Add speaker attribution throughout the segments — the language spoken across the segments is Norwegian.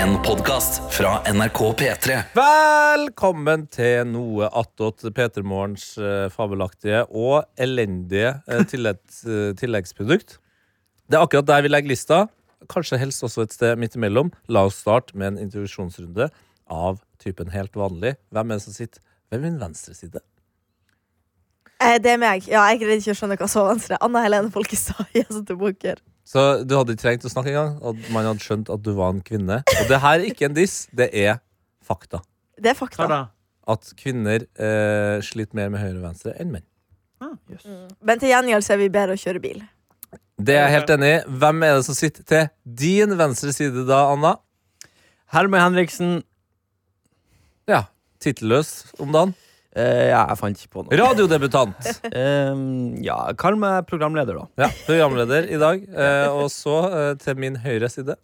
Speaker 1: En podcast fra NRK P3
Speaker 2: Velkommen til noe attåt P3morgens fabelaktige og elendige eh, tilleggs, eh, tilleggsprodukt. Det er akkurat der vi legger lista. Kanskje helst også et sted midt imellom. La oss starte med en introduksjonsrunde av typen helt vanlig. Hvem er det som sitter ved min venstre side?
Speaker 3: Eh, Det er meg. Ja, jeg greide ikke å skjønne hva så vanskelig er. Anna Helene Folkestad. Jeg satt og bunker.
Speaker 2: Så du hadde ikke trengt å snakke engang, og man hadde skjønt at du var en kvinne. Og det her er ikke en diss, det er fakta.
Speaker 3: Det er
Speaker 4: Hva
Speaker 3: fakta.
Speaker 4: da?
Speaker 2: At kvinner eh, sliter mer med høyre og venstre enn menn.
Speaker 3: Men til gjengjeld så er vi bedre å kjøre bil.
Speaker 2: Det er jeg helt enig i. Hvem er det som sitter til din venstre side da, Anna?
Speaker 4: Herman Henriksen.
Speaker 2: Ja, Tittelløs om dagen.
Speaker 4: Eh, ja, jeg fant ikke på noe.
Speaker 2: Radiodebutant.
Speaker 5: Ehm,
Speaker 4: Eh, ja, kall meg programleder, da.
Speaker 2: Ja, Programleder i dag. Eh, og så eh, til min høyre side.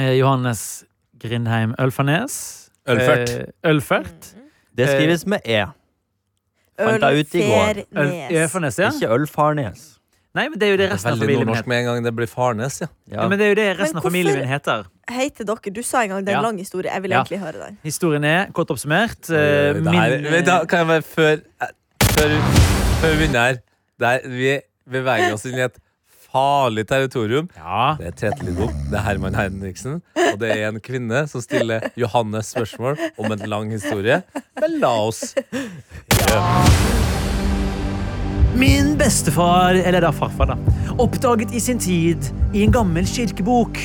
Speaker 5: Eh, Johannes Grindheim Ølfernes.
Speaker 2: Ølfert.
Speaker 5: Eh, Ølfert.
Speaker 4: Det
Speaker 5: Eh,
Speaker 4: skrives med E, Fant jeg ut i går.
Speaker 5: Øl
Speaker 3: Ølfernes.
Speaker 5: Ølfernes, ja.
Speaker 4: ikke Ølfarnes.
Speaker 5: Nei, men det er jo det
Speaker 2: Det er
Speaker 5: resten av
Speaker 2: veldig
Speaker 5: familien min
Speaker 2: nordnorsk
Speaker 5: heter.
Speaker 2: med en gang det blir Farnes, ja.
Speaker 4: Ja.
Speaker 5: Ja, men det er jo det resten av
Speaker 3: hvorfor-
Speaker 5: familien min heter.
Speaker 3: Hei til dere. Du sa en gang det er en
Speaker 5: Ja.
Speaker 3: lang historie. Jeg vil
Speaker 5: Ja.
Speaker 3: egentlig høre den.
Speaker 5: Historien er, kort oppsummert eh,
Speaker 2: Eh, det
Speaker 5: min, eh,
Speaker 2: her, vent da, kan jeg bare før eh, Før, før vi begynner her der, Vi beveger oss inn i et farlig territorium.
Speaker 5: Ja,
Speaker 2: Det er Tete Lidbom, det er Herman Henriksen, og det er en kvinne som stiller Johannes spørsmål om en lang historie. Men la oss
Speaker 5: Min bestefar, eller da farfar, da, oppdaget i sin tid i en gammel kirkebok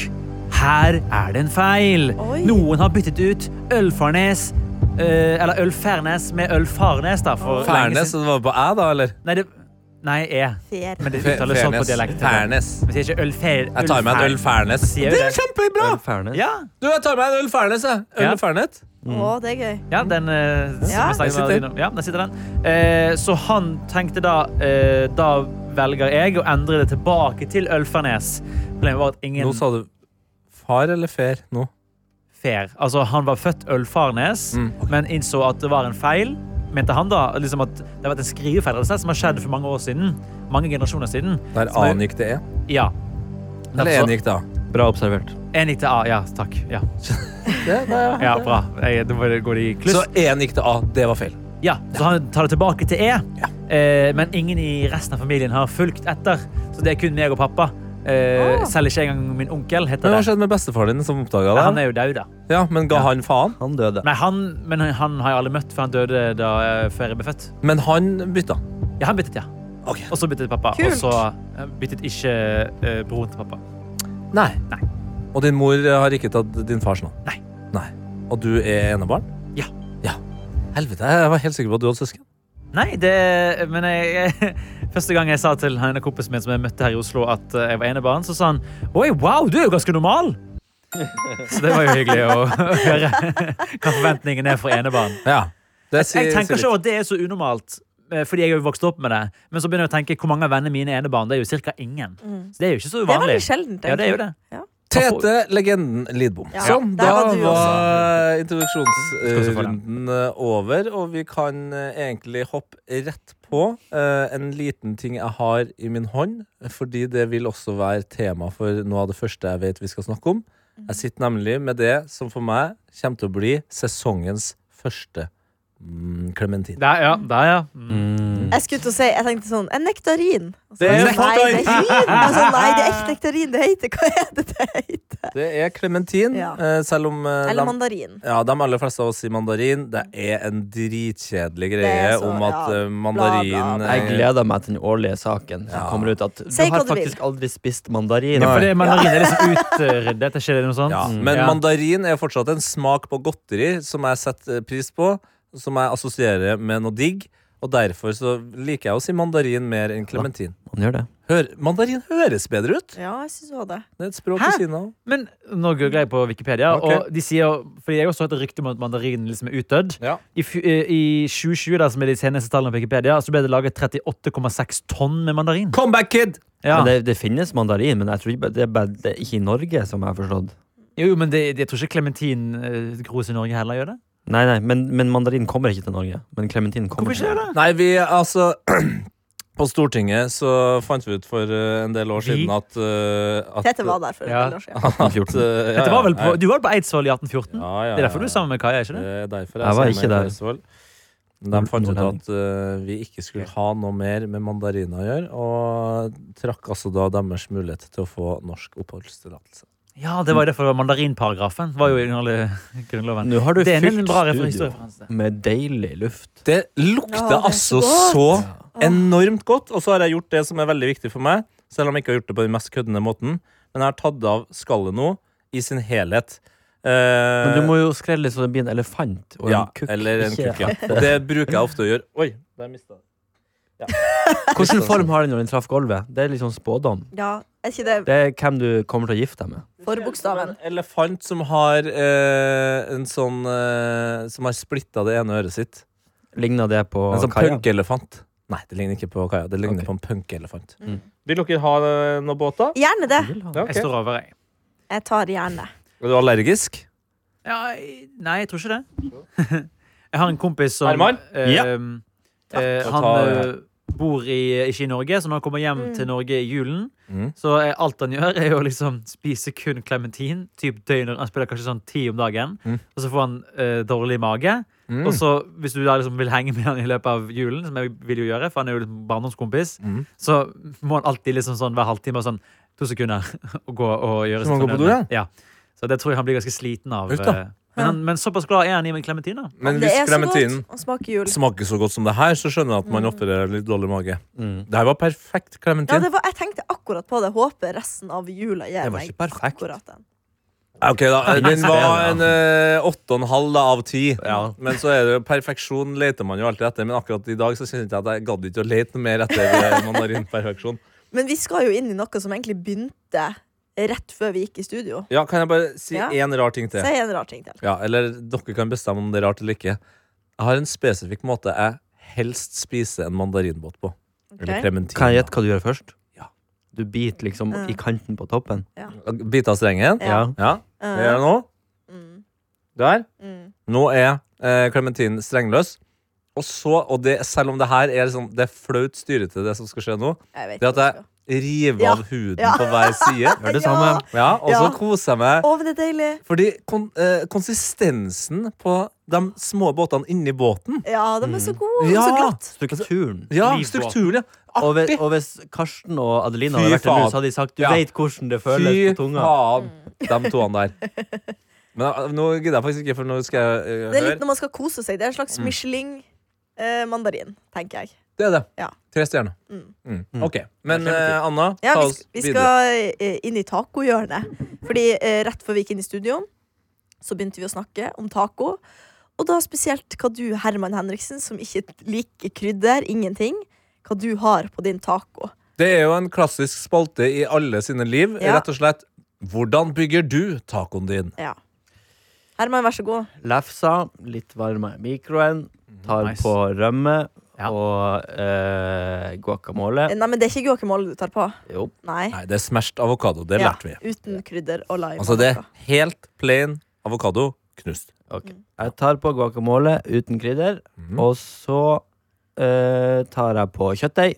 Speaker 5: Her er det en feil.
Speaker 3: Oi.
Speaker 5: Noen har byttet ut Ølfarnes eh, Eller Ølfernes med Ølfarnes, da. For lenge
Speaker 2: Fernes,
Speaker 5: siden.
Speaker 2: og det var på æ, da, eller?
Speaker 5: Nei, det, nei, E.
Speaker 3: Fer.
Speaker 5: Men det
Speaker 2: Fe-
Speaker 5: uttales sånn på
Speaker 2: Fernes.
Speaker 5: dialekt.
Speaker 2: Fernes.
Speaker 5: Vi sier ikke Ølfer...
Speaker 2: Jeg tar meg en øl Fernes.
Speaker 5: Sier vi det?
Speaker 2: kjempebra!
Speaker 4: Ølfarnes.
Speaker 5: Ja,
Speaker 2: Du, jeg tar meg en øl Fernes, jeg. Øl
Speaker 5: Ja.
Speaker 2: Fernet.
Speaker 4: Mm.
Speaker 3: Å, det er gøy.
Speaker 5: ja den eh, som
Speaker 3: Ja.
Speaker 5: vi snakket
Speaker 2: Den
Speaker 5: om
Speaker 2: sitter.
Speaker 5: innom. Ja, der sitter den. Eh, så han tenkte da eh, Da velger jeg å endre det tilbake til Ølfernes. Problemet var at ingen
Speaker 2: Nå sa du far eller fer nå?
Speaker 5: fair. Altså, han var født Ølfarnes,
Speaker 2: Mm.
Speaker 5: men innså at det var en feil. Mente han da liksom at det har vært en skrivefeil eller noe sånt som har skjedd for mange år siden? Mange generasjoner siden.
Speaker 2: Der
Speaker 5: Som er-
Speaker 2: A-en gikk til E.
Speaker 5: Ja.
Speaker 2: Eller
Speaker 5: Derfor-
Speaker 2: en gikk til A.
Speaker 4: Bra observert.
Speaker 5: En gikk til A. Ja, takk. Ja,
Speaker 2: Det, det,
Speaker 5: ja bra. Jeg, da går det i kluss.
Speaker 2: Så én gikk til A. Det var feil.
Speaker 5: Ja, så han tar det tilbake til E, eh, men ingen i resten av familien har fulgt etter. Så det er kun meg og pappa. Eh,
Speaker 3: Ah.
Speaker 5: Selv ikke engang min onkel
Speaker 2: Men
Speaker 5: heter
Speaker 2: Hva
Speaker 5: det.
Speaker 2: skjedde med bestefaren din, som oppdaga
Speaker 5: Nei,
Speaker 2: det?
Speaker 5: han er jo død, da.
Speaker 2: Ja, men ga han faen?
Speaker 4: Han døde.
Speaker 5: Nei, han, men han har jeg aldri møtt, for han døde da, eh, før jeg ble født.
Speaker 2: Men han bytta.
Speaker 5: Ja, han byttet, ja.
Speaker 2: Ok.
Speaker 5: Og så byttet pappa.
Speaker 3: Kult.
Speaker 5: Og så eh, byttet ikke eh, broren til pappa.
Speaker 2: Nei.
Speaker 5: Nei.
Speaker 2: Og din mor eh, har ikke tatt din fars navn?
Speaker 5: Nei.
Speaker 2: Nei. Og du er enebarn?
Speaker 5: Ja.
Speaker 2: ja. Helvete, jeg var helt sikker på at du hadde søsken.
Speaker 5: Nei, det eh, Men jeg, første gang jeg sa til en av kompisen min som jeg møtte her i Oslo, at eh, jeg var enebarn, så sa han Oi, wow, du er jo ganske normal! Så det var jo hyggelig å høre hva forventningen er for enebarn.
Speaker 2: Ja. Det
Speaker 5: Jeg tenker
Speaker 2: litt.
Speaker 5: ikke over at det er så unormalt, eh, fordi jeg er jo vokst opp med det. Men så begynner jeg å tenke hvor mange av vennene mine er enebarn. Det er jo ca. ingen. Så det er jo ikke så
Speaker 3: Mm. Det er veldig
Speaker 5: uvanlig.
Speaker 3: sjeldent.
Speaker 5: Ja, det er jo
Speaker 3: egentlig.
Speaker 5: det.
Speaker 3: Ja.
Speaker 2: Tete, legenden Lidbom.
Speaker 3: Ja,
Speaker 2: sånn,
Speaker 3: der
Speaker 2: da
Speaker 3: var
Speaker 2: var,
Speaker 3: du
Speaker 5: Skal også få
Speaker 2: introduksjonsrunden eh, over, og vi kan eh, egentlig hoppe rett på eh, en liten ting jeg har i min hånd, fordi det vil også være tema for noe av det første jeg vet vi skal snakke om.
Speaker 3: Mhm.
Speaker 2: Jeg sitter nemlig med det som for meg kommer til å bli sesongens første mm, klementin.
Speaker 5: Der, ja. Der, ja. Mm.
Speaker 4: Mm.
Speaker 3: Jeg skulle til å si, jeg tenkte sånn, en nektarin. Og så,
Speaker 2: Det er
Speaker 3: nei,
Speaker 2: nektarin.
Speaker 3: det er ikke- Altså, nei, det er ikke nektarin det heter. Hva er det det heter?
Speaker 2: det er klementin,
Speaker 3: Ja.
Speaker 2: selv om eh, de-
Speaker 3: Eller mandarin.
Speaker 2: Ja, de aller fleste av oss sier mandarin. Det er en dritkjedelig greie
Speaker 3: Det er så-
Speaker 2: om at
Speaker 3: ja,
Speaker 2: eh, mandarin
Speaker 3: bla, bla, bla.
Speaker 4: Jeg
Speaker 2: eh,
Speaker 4: gleder meg til den årlige saken som
Speaker 2: Ja.
Speaker 4: kommer ut at du
Speaker 3: Si hva
Speaker 4: har
Speaker 3: du
Speaker 4: faktisk aldri spist mandarin.
Speaker 2: Ja,
Speaker 5: For det mandarin er liksom utryddet, er ikke det noe sånt?
Speaker 2: ja.
Speaker 4: Mm.
Speaker 2: Men
Speaker 5: Ja.
Speaker 2: mandarin er fortsatt en smak på godteri som jeg setter pris på, som jeg assosierer med noe digg. Og derfor så liker jeg å si mandarin mer enn klementin.
Speaker 4: Man gjør det.
Speaker 2: Hør, mandarin høres bedre ut!
Speaker 3: Ja, jeg syns òg det.
Speaker 2: Det er et språk
Speaker 5: Hæ?
Speaker 2: ved siden av.
Speaker 5: Men nå googler jeg på Wikipedia,
Speaker 2: Ok.
Speaker 5: og de sier Fordi jeg har også hørt et rykte om at mandarinen liksom er utdødd.
Speaker 2: Ja.
Speaker 5: I, fj- eh, I 2020, da, som er de seneste tallene på Wikipedia, så ble det laget 38,6 tonn med mandarin.
Speaker 2: Comeback kid!
Speaker 5: Ja.
Speaker 4: Men det, det finnes mandarin, men jeg tror ikke, bare- det er bare det er ikke i Norge, som jeg har forstått.
Speaker 5: Jo, jo, men det, jeg tror ikke klementin eh, gros i Norge heller gjør det.
Speaker 4: Nei, nei, men, men mandarin kommer ikke til Norge. Men klementin kommer.
Speaker 5: Hvorfor ikke det?
Speaker 2: Nei, vi altså På Stortinget så fant vi ut for eh, en del år
Speaker 5: Vi?
Speaker 2: siden at, eh, at
Speaker 3: Tete var der for en
Speaker 5: Ja.
Speaker 3: del år siden.
Speaker 2: at, eh, ja,
Speaker 5: Dette var vel
Speaker 2: ja,
Speaker 5: på, du var på Eidsvoll i 1814?
Speaker 2: ja, ja,
Speaker 5: Det er derfor du er sammen med Kaja, ikke det?
Speaker 2: Det er derfor
Speaker 4: Jeg var
Speaker 2: sammen
Speaker 4: ikke
Speaker 2: med
Speaker 4: der.
Speaker 2: Eidsvoll. De fant ut
Speaker 4: Nordlending.
Speaker 2: at eh, vi ikke skulle ha noe mer med mandariner å gjøre, og trakk altså da deres mulighet til å få norsk oppholdstillatelse.
Speaker 5: Ja, det var jo derfor mandarinparagrafen var jo i den alle grunnloven.
Speaker 4: Nå har du
Speaker 5: Det er en
Speaker 4: fylt
Speaker 5: bra
Speaker 4: studio
Speaker 5: historiereferanse.
Speaker 4: med deilig luft.
Speaker 2: Det lukter
Speaker 3: Ja, det er
Speaker 2: altså
Speaker 3: så
Speaker 2: så
Speaker 3: godt.
Speaker 2: enormt godt, og så har jeg gjort det som er veldig viktig for meg, selv om jeg ikke har gjort det på den mest køddende måten, men jeg har tatt av skallet nå i sin helhet. Eh,
Speaker 4: Men du må jo skrelle så det blir en elefant og
Speaker 2: ja,
Speaker 4: en kukk.
Speaker 2: Eller en
Speaker 4: ikke-
Speaker 2: kukk, ja. Og det bruker jeg ofte å gjøre. Oi, der mistet jeg.
Speaker 4: Hvilken form har den når den traff gulvet? Det er liksom spådom.
Speaker 3: Ja, er ikke det
Speaker 4: Det er hvem du kommer til å gifte deg med.
Speaker 3: forbokstaven?
Speaker 2: En elefant som har eh, en sånn eh, Som har splitta det ene øret sitt.
Speaker 4: Ligner det på
Speaker 2: En sånn
Speaker 4: kaia?
Speaker 2: punkelefant. Nei, det ligner ikke på kaia. Det ligner
Speaker 4: Ok.
Speaker 2: på en punkelefant.
Speaker 4: Mm.
Speaker 2: Vil dere ha eh, noen båter?
Speaker 3: Gjerne det.
Speaker 2: Ja,
Speaker 5: Jeg står over, jeg.
Speaker 3: Jeg tar gjerne.
Speaker 2: Er du allergisk?
Speaker 5: Ja, jeg- nei, jeg tror ikke det. Jeg har en kompis som
Speaker 2: Herman?
Speaker 5: eh,
Speaker 4: Ja.
Speaker 5: eh,
Speaker 2: Da
Speaker 5: Han
Speaker 2: tar-
Speaker 5: eh, bor i, ikke i Norge, så når han kommer hjem
Speaker 3: Mm.
Speaker 5: til Norge i julen,
Speaker 2: Mm.
Speaker 5: så er alt han gjør, er å liksom spise kun klementin. Typ døgnet, Han spiller kanskje sånn ti om dagen,
Speaker 2: Mm.
Speaker 5: og så får han eh, dårlig mage. Og så Hvis du da liksom vil henge med han i løpet av julen, som jeg vil jo gjøre, for han er jo liksom barndomskompis,
Speaker 2: Mm.
Speaker 5: så må han alltid liksom sånn hver halvtime og sånn to sekunder og gå og gjøre
Speaker 2: Så må han
Speaker 5: sånn
Speaker 2: gå på do, ja?
Speaker 5: ja. Så det tror jeg han blir ganske sliten av.
Speaker 2: Ut da.
Speaker 5: eh. Men, han, men såpass glad er han i meg klementin, da.
Speaker 2: Men
Speaker 3: det
Speaker 2: hvis
Speaker 3: er så
Speaker 2: klementinen
Speaker 3: godt å smake jul.
Speaker 2: smaker så godt som det her, så skjønner jeg at man opererer litt dårlig mage.
Speaker 4: Mm.
Speaker 2: Det her var perfekt
Speaker 3: Ja,
Speaker 2: klementin.
Speaker 3: det var, jeg tenkte akkurat på det. Håper resten av jula gir
Speaker 4: Det var
Speaker 3: meg
Speaker 4: ikke perfekt.
Speaker 3: akkurat den.
Speaker 2: Ok, da. eh, Den var en eh, åtte og en halv da, av ti.
Speaker 4: Ja.
Speaker 2: Men så er det jo perfeksjon leter man jo alltid etter. Men akkurat i dag så kjente jeg at jeg gadd ikke å lete noe mer etter eh, mandarinperfeksjon.
Speaker 3: Men vi skal jo inn i noe som egentlig begynte rett før vi gikk i studio.
Speaker 2: Ja, kan jeg bare si
Speaker 3: Ja.
Speaker 2: én rar ting til?
Speaker 3: Si en rar ting til.
Speaker 2: Ja, Eller dere kan bestemme om det er rart eller ikke. Jeg har en spesifikk måte jeg helst spiser en mandarinbåt på. Eller
Speaker 3: ok?
Speaker 2: klementin.
Speaker 4: Kan jeg gjette hva du gjør først?
Speaker 2: Ja.
Speaker 4: Du biter liksom
Speaker 3: Ja.
Speaker 4: i kanten på toppen.
Speaker 2: Bite av strengen.
Speaker 3: Ja.
Speaker 2: Ja,
Speaker 3: Eh,
Speaker 2: det gjør jeg nå.
Speaker 3: Mm,
Speaker 2: Der.
Speaker 3: mm.
Speaker 2: Nå er eh, klementinen strengløs. Og så, og det, selv om det her er sånn, det er flaut styrete, det som skal skje nå,
Speaker 3: Jeg vet
Speaker 2: Det at
Speaker 3: hva
Speaker 2: jeg-
Speaker 3: skal.
Speaker 2: rive
Speaker 3: Ja.
Speaker 2: av huden
Speaker 3: Ja.
Speaker 2: på hver side.
Speaker 4: Gjør det
Speaker 3: Ja.
Speaker 4: samme.
Speaker 2: Ja, Og så
Speaker 3: Ja.
Speaker 2: koser jeg meg.
Speaker 3: Å, men det er deilig!
Speaker 2: Fordi kon, eh, konsistensen på de små båtene inni båten
Speaker 3: Ja, de er så gode og
Speaker 2: Mm. Ja.
Speaker 3: så glatt.
Speaker 4: Strukturen.
Speaker 2: Altså, Ja,
Speaker 5: Livbåten.
Speaker 2: strukturen, ja.
Speaker 4: Og, hvis,
Speaker 2: Artig!
Speaker 4: og hvis Karsten og Adelina
Speaker 2: Fy
Speaker 4: hadde vært her nå,
Speaker 2: faen.
Speaker 4: så hadde de sagt du
Speaker 2: Ja.
Speaker 4: vet hvordan det føles
Speaker 2: Fy
Speaker 4: på tunga.
Speaker 2: faen,
Speaker 3: Mm.
Speaker 2: de toene der. Men eh, nå gidder jeg faktisk ikke, for nå skal jeg eh,
Speaker 3: Det er
Speaker 2: høre.
Speaker 3: litt når man skal kose seg. Det er en
Speaker 2: Mm.
Speaker 3: slags Michelin-mandarin, tenker jeg.
Speaker 2: Det er det.
Speaker 3: Ja.
Speaker 2: Tre stjerner.
Speaker 3: Mm.
Speaker 2: Mm.
Speaker 4: Mm.
Speaker 2: OK. Men eh, Anna,
Speaker 3: Ja,
Speaker 2: ta
Speaker 3: vi,
Speaker 2: oss
Speaker 3: sk- vi
Speaker 2: videre.
Speaker 3: skal eh, inn i tacohjørnet. Fordi eh, rett før vi gikk inn i studio, så begynte vi å snakke om taco. Og da spesielt hva du, Herman Henriksen, som ikke liker krydder, ingenting, hva du har på din taco.
Speaker 2: Det er jo en klassisk spalte i alle sine liv.
Speaker 3: Ja.
Speaker 2: Rett og slett Hvordan bygger du tacoen din?
Speaker 3: Ja. Herman, vær så god.
Speaker 4: Lefsa, litt varme i mikroen,
Speaker 2: Mhm.
Speaker 4: tar
Speaker 5: Nice.
Speaker 4: på rømme
Speaker 5: Ja.
Speaker 4: og eh, guacamole.
Speaker 3: Eh, Nei, men det er ikke guacamole du tar på.
Speaker 4: Jo.
Speaker 3: Nei.
Speaker 2: Nei, det er smashed avokado. Det
Speaker 3: Ja,
Speaker 2: lærte vi.
Speaker 3: Uten krydder og lime.
Speaker 2: Altså, det er helt plain avokado knust.
Speaker 4: ok. Jeg tar på guacamole uten krydder,
Speaker 2: Mhm.
Speaker 4: og så eh, tar jeg på kjøttdeig.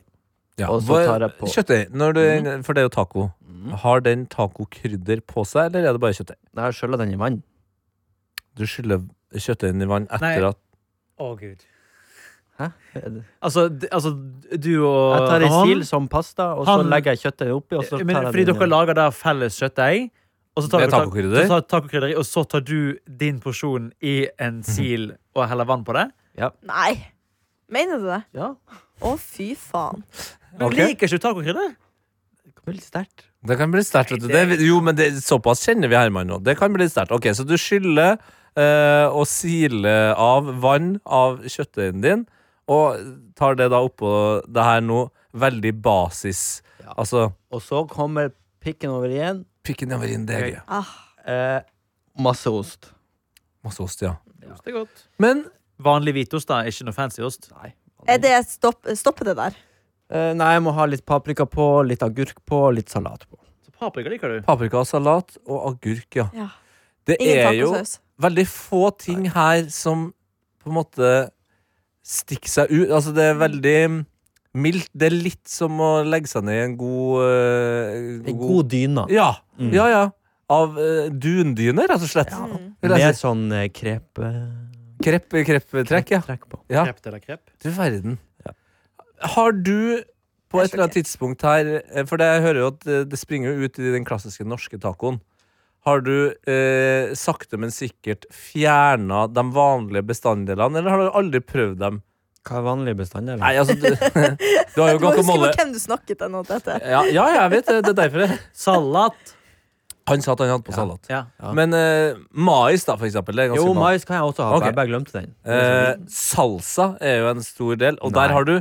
Speaker 2: Ja.
Speaker 4: Og så tar jeg på- Mm.
Speaker 2: Kjøttdeig. Når du, For det er jo taco. Har den tacokrydder på seg, eller er det bare kjøttdeig?
Speaker 4: Når jeg skjøller den i vann.
Speaker 2: Du skyller kjøttdeigen i vann etter
Speaker 5: Nei.
Speaker 2: at
Speaker 5: Å, Gud.
Speaker 4: Hæ? Er det-
Speaker 5: Altså, d- altså, du og
Speaker 4: Jeg tar ei
Speaker 5: Ramón,
Speaker 4: sil som pasta, og så
Speaker 5: Han-
Speaker 4: legger jeg kjøttet oppi. Og så tar
Speaker 5: men,
Speaker 4: jeg
Speaker 5: Fordi dere
Speaker 4: den igjen.
Speaker 5: lager der felles kjøttdeig. Og så tar
Speaker 2: Det er
Speaker 5: dere tak-
Speaker 2: tacokrydder.
Speaker 5: så tar tacokrydder i, og så tar du din porsjon i
Speaker 2: Mhm.
Speaker 5: en sil og heller vann på det?
Speaker 3: Nei. Mener du det?
Speaker 4: Ja,
Speaker 3: Å, fy faen.
Speaker 5: Du
Speaker 2: Ok.
Speaker 5: liker ikke tacokrydder?
Speaker 4: det kommer litt sterkt.
Speaker 2: Det kan bli sterkt. vet du. Det- Jo, men det, såpass kjenner vi Herman nå. Det kan bli sterkt. Ok, Så du skyller eh, og siler av vann av kjøttdeigen din, og tar det da oppå det her nå veldig basis.
Speaker 4: Ja.
Speaker 2: Altså
Speaker 4: Og så kommer pikken over igjen.
Speaker 2: pikken nedover inn deget.
Speaker 3: Ah,
Speaker 4: Eh, masse ost.
Speaker 2: Masse ost, ja.
Speaker 5: Det er godt.
Speaker 2: Men
Speaker 5: Vanlig hvitost, da. Ikke noe fancy ost.
Speaker 4: Nei.
Speaker 3: er det stopp, stopper det der?
Speaker 4: Eh, nei, jeg må ha litt paprika på, litt agurk på, litt salat på.
Speaker 5: Så paprika liker du.
Speaker 2: paprika, salat og agurk, ja.
Speaker 3: Ja.
Speaker 2: Det
Speaker 3: Ingen
Speaker 2: er jo
Speaker 3: tacosaus?
Speaker 2: veldig få ting
Speaker 4: Mm.
Speaker 2: her som på en måte stikker seg ut. Altså, det er veldig Mildt, det er litt som å legge seg ned i en god eh,
Speaker 4: En god dyne.
Speaker 2: Ja,
Speaker 4: Mm.
Speaker 2: ja, ja. Av eh, dundyne, rett og slett. Vil jeg
Speaker 4: Med
Speaker 2: si.
Speaker 4: sånn eh, krep...
Speaker 2: Krepp, krepptrekk, ja.
Speaker 4: Trekk på.
Speaker 2: ja.
Speaker 5: Krepp eller krepp?
Speaker 2: Du verden.
Speaker 4: Ja.
Speaker 2: Har du på
Speaker 3: Jeg er
Speaker 2: et eller annet tidspunkt her eh, For det, jeg hører jo at eh, det springer jo ut i den klassiske norske tacoen. Har du eh, sakte, men sikkert fjerna de vanlige bestanddelene, eller har du aldri prøvd dem?
Speaker 4: Hva er vanlig bestanddel?
Speaker 2: Nei, altså Du, du har jo
Speaker 3: Du må huske
Speaker 2: guacamole.
Speaker 3: på hvem du snakket til nå, Tete.
Speaker 2: Ja, ja, jeg vet det. Det er derfor. jeg-
Speaker 5: Salat.
Speaker 2: Han sa at han hadde på salat.
Speaker 5: Ja.
Speaker 4: Ja.
Speaker 2: Men eh, mais, da, for eksempel. Det er ganske
Speaker 4: Jo,
Speaker 2: vanlig.
Speaker 4: mais kan jeg også ha, for
Speaker 2: Ok.
Speaker 4: jeg bare glemte den.
Speaker 2: Eh, salsa er jo en stor del, og
Speaker 4: Nei.
Speaker 2: der har du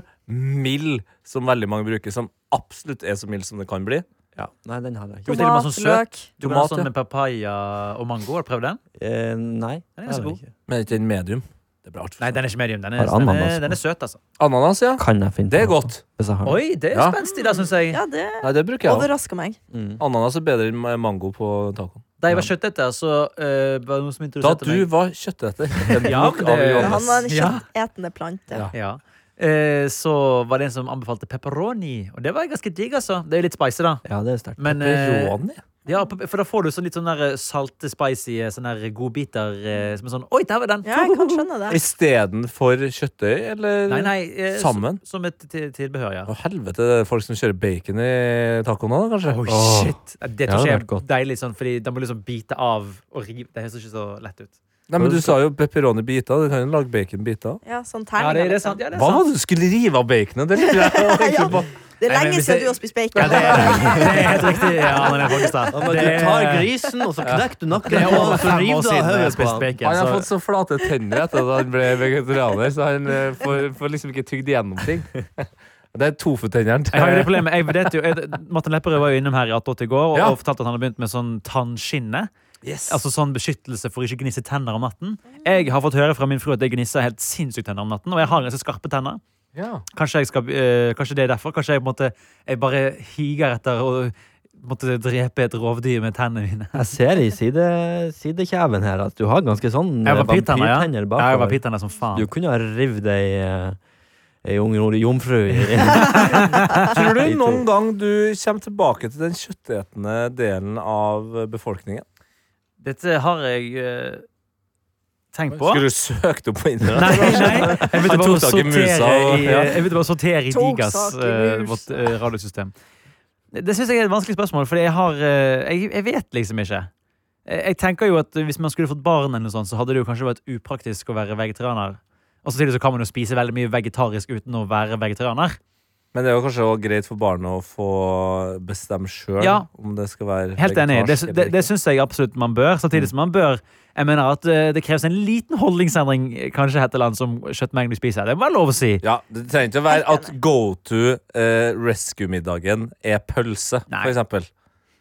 Speaker 2: mild, som veldig mange bruker, som absolutt er så mild som det kan bli.
Speaker 4: Ja. Nei, den hadde jeg ikke.
Speaker 5: Jo, til og med
Speaker 3: Tomat,
Speaker 5: sånn søt.
Speaker 3: løk
Speaker 5: Du kan ha
Speaker 2: Tomat, ja.
Speaker 5: sånn med papaya og mango. Har du prøvd den?
Speaker 4: Eh,
Speaker 5: Den er
Speaker 4: nei. det
Speaker 5: ganske
Speaker 4: hadde jeg
Speaker 5: god.
Speaker 4: ikke.
Speaker 2: Men ikke den medium. Det blir
Speaker 5: Nei,
Speaker 2: altfor
Speaker 5: den er ikke medium. Den
Speaker 4: Har
Speaker 5: er, den
Speaker 4: ananas
Speaker 5: er,
Speaker 4: på.
Speaker 5: den er søt, altså.
Speaker 2: Ananas, ja.
Speaker 4: Kan jeg finne
Speaker 2: Det er
Speaker 4: på noe,
Speaker 2: godt.
Speaker 4: Hvis jeg har
Speaker 5: Oi, det er
Speaker 2: Ja.
Speaker 5: spenstig, da, syns jeg.
Speaker 3: Ja, det
Speaker 2: Nei, det bruker jeg. også.
Speaker 3: overrasker meg.
Speaker 4: Mm.
Speaker 2: Ananas er bedre enn mango på tacoen.
Speaker 5: Da jeg var kjøtteter, så eh, var det noe som
Speaker 2: Da
Speaker 5: interesserte
Speaker 2: du
Speaker 5: meg.
Speaker 2: var kjøtteter. Det er
Speaker 5: Ja,
Speaker 2: nok
Speaker 5: men
Speaker 2: av
Speaker 5: det-
Speaker 2: Johannes.
Speaker 3: Han var en
Speaker 5: Ja.
Speaker 3: kjøttetende plante.
Speaker 2: Ja.
Speaker 5: Ja. Eh, så var det en som anbefalte pepperoni, og det var ganske digg, altså. Det er litt spicy, da.
Speaker 4: Ja, det er sterkt.
Speaker 5: Men, eh,
Speaker 2: Pepperoni?
Speaker 5: ja, pe- for da får du sånn litt sånn der eh, salte, spicy eh, sånne der godbiter eh, som er sånn Oi, der var den!
Speaker 3: Ja, jeg kan skjønne det.
Speaker 2: Istedenfor kjøttøy, eller?
Speaker 5: Nei, nei, eh, s-
Speaker 2: Sammen?
Speaker 5: Som et til- tilbehør, ja.
Speaker 2: Å, helvete, det er folk som kjører bacon i tacoen nå, kanskje?
Speaker 5: Oi,
Speaker 2: Åh.
Speaker 5: shit! Det
Speaker 4: Ja,
Speaker 5: tror
Speaker 4: det
Speaker 5: ikke
Speaker 4: hadde
Speaker 5: jeg
Speaker 4: vært godt.
Speaker 5: er deilig, sånn, fordi da må du liksom bite av og rive. Det høres ikke så lett ut.
Speaker 2: Nei, men Du sa jo pepperoni-biter. Du kan jo lage bacon-biter.
Speaker 3: Ja, sånn
Speaker 5: Ja,
Speaker 3: terninger,
Speaker 5: det, det er sant.
Speaker 3: liksom.
Speaker 5: Ja, det er
Speaker 2: Hva var
Speaker 5: sant.
Speaker 2: det du skulle rive av baconet? Det lurer jeg egentlig på.
Speaker 3: Det er
Speaker 5: Nei, men
Speaker 3: lenge
Speaker 5: hvis
Speaker 3: siden
Speaker 5: jeg-
Speaker 3: du har spist bacon.
Speaker 5: Ja, det er, det er helt riktig. Ja, Anne-Lene Folkestad.
Speaker 4: Du
Speaker 5: Det-
Speaker 4: tar grisen, og så knekker du nakken,
Speaker 5: Det er over
Speaker 4: og så
Speaker 5: fem år
Speaker 4: river du av
Speaker 5: siden jeg har
Speaker 4: hodet på
Speaker 5: spist
Speaker 4: den.
Speaker 5: bacon.
Speaker 2: han har
Speaker 5: så-
Speaker 2: fått så flate tenner etter at han ble vegetarianer, så han eh, får, får liksom ikke tygd igjennom ting. Det er tofutenneren.
Speaker 5: Jeg har jo det
Speaker 2: til-
Speaker 5: problemet. Jeg vet jo, jeg, Martin Lepperød var jo innom her i 88 i går og,
Speaker 2: Ja.
Speaker 5: og fortalte at han har begynt med sånn tannskinne.
Speaker 2: Yes.
Speaker 5: Altså sånn beskyttelse for å ikke gnisse tenner om natten. Jeg har fått høre fra min fru at jeg gnisser helt sinnssykt tenner om natten, og jeg har ganske skarpe tenner.
Speaker 2: Ja.
Speaker 5: Kanskje, jeg skal, eh, kanskje det er derfor. Kanskje jeg, på en måte, jeg bare higer etter å måtte drepe et rovdyr med tennene mine.
Speaker 4: Jeg ser i side, sidekjeven her at du har ganske sånn
Speaker 5: Jeg var pittenner, ja.
Speaker 4: vampyrtenner
Speaker 5: Ja, Jeg var
Speaker 4: bakover.
Speaker 5: pittenner som faen.
Speaker 4: Du kunne ha revet ei, eh, ei ung jomfru i
Speaker 2: Tror du
Speaker 4: De to.
Speaker 2: noen gang du kommer tilbake til den kjøttetende delen av befolkningen?
Speaker 5: Dette har jeg eh, tenkt på.
Speaker 2: Skulle du søkt opp på internett?
Speaker 5: Nei, nei. Jeg begynte
Speaker 2: Han
Speaker 5: bare å
Speaker 2: tok tak i musa
Speaker 5: sortere
Speaker 2: og-
Speaker 5: i,
Speaker 2: ja.
Speaker 5: jeg begynte bare å sortere i
Speaker 3: Tok
Speaker 5: Digas,
Speaker 3: tak i
Speaker 5: eh,
Speaker 3: mus.
Speaker 5: vårt eh, radiosystem. Det syns jeg er et vanskelig spørsmål, for jeg, har, eh, jeg, jeg vet liksom ikke. Jeg, jeg tenker jo at Hvis man skulle fått barn, eller noe sånt, så hadde det jo kanskje vært upraktisk å være vegetarianer. Og så så kan man jo spise veldig mye vegetarisk uten å være vegetarianer.
Speaker 2: Men det er jo kanskje også greit for barnet å få bestemme sjøl
Speaker 5: Ja.
Speaker 2: om det skal være
Speaker 5: Helt enig. Det,
Speaker 2: vegetarsk
Speaker 5: det,
Speaker 2: eller
Speaker 5: det
Speaker 2: ikke.
Speaker 5: syns jeg absolutt man bør. Samtidig som man bør Jeg mener at eh, det kreves en liten holdningsendring, eh, kanskje, etter land som kjøttmengden du spiser. Det er bare lov å si.
Speaker 2: Ja, Det trenger ikke å være at go to eh, rescue-middagen er pølse,
Speaker 5: Nei.
Speaker 2: for eksempel.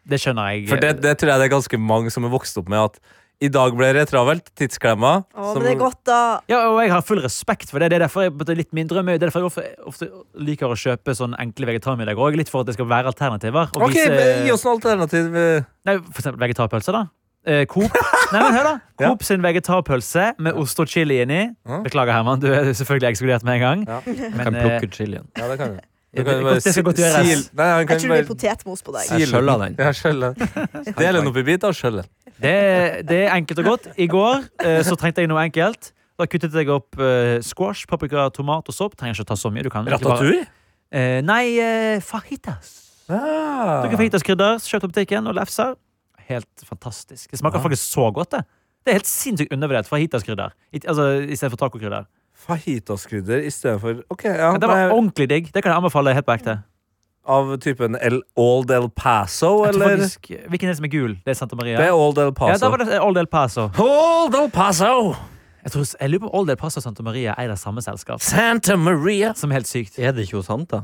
Speaker 5: Det skjønner jeg.
Speaker 2: For det, det tror jeg det er ganske mange som er vokst opp med at i dag ble det travelt. Tidsklemma.
Speaker 3: Å,
Speaker 2: som-
Speaker 3: men det er godt, da.
Speaker 5: Ja, og jeg har full respekt for det. Det er derfor jeg, det er litt min drøm. Det er derfor jeg ofte, ofte liker å kjøpe sånn enkle vegetarmiddager òg. Litt for at det skal være alternativer. og
Speaker 2: Ok,
Speaker 5: vise-
Speaker 2: men Gi oss noe alternativ. eh.
Speaker 5: Nei, for eksempel vegetarpølse, da. Eh, Coop Nei, men hør da
Speaker 2: Ja.
Speaker 5: Coop sin vegetarpølse med ost og chili inni.
Speaker 2: Ja.
Speaker 5: Beklager, Herman. Du er selvfølgelig ekskludert med en gang.
Speaker 2: Ja.
Speaker 5: Men,
Speaker 4: Kan
Speaker 5: eh,
Speaker 4: plukke ut chilien.
Speaker 2: Ja, det kan jeg.
Speaker 5: Ja, det- det skal godt gjøres.
Speaker 2: Nei, han kan
Speaker 3: Jeg tror det blir
Speaker 2: bare
Speaker 3: potetmos på deg.
Speaker 4: Jeg skjøller den.
Speaker 2: ja, skjølle. Del den opp i biter og skjøll den.
Speaker 5: det, det er enkelt og godt. I går eh, så trengte jeg noe enkelt. Da kuttet jeg opp eh, squash, paprika, tomat og sopp. Trenger ikke å ta så mye. Du kan egentlig bare-
Speaker 2: Ratatouille?
Speaker 5: Eh, nei, eh, fajitas.
Speaker 2: Ah.
Speaker 5: Du kan få krydder, kjøpt på butikken og lefser. Helt fantastisk. Det smaker faktisk så godt, det. Det er helt sinnssykt undervurdert fra hitaskrydder. I, altså, I stedet for tacokrydder.
Speaker 2: Fajitaskrydder istedenfor Ok, ja.
Speaker 5: Det var
Speaker 2: Nei,
Speaker 5: ordentlig digg. Det kan jeg anbefale helt på ekte.
Speaker 2: av typen El Old El Paso,
Speaker 5: Jeg tror
Speaker 2: eller?
Speaker 5: Faktisk, hvilken er det som er gul? Det er Santa Maria.
Speaker 2: Det er Old El
Speaker 5: Ja, da
Speaker 2: Paso.
Speaker 5: var det Old El Paso.
Speaker 2: Old El Paso!
Speaker 5: Jeg, tror, jeg lurer på om Old El Paso og Santa Maria er det samme selskap.
Speaker 2: Santa Maria.
Speaker 5: Som er helt sykt.
Speaker 4: Er det ikke hos Santa?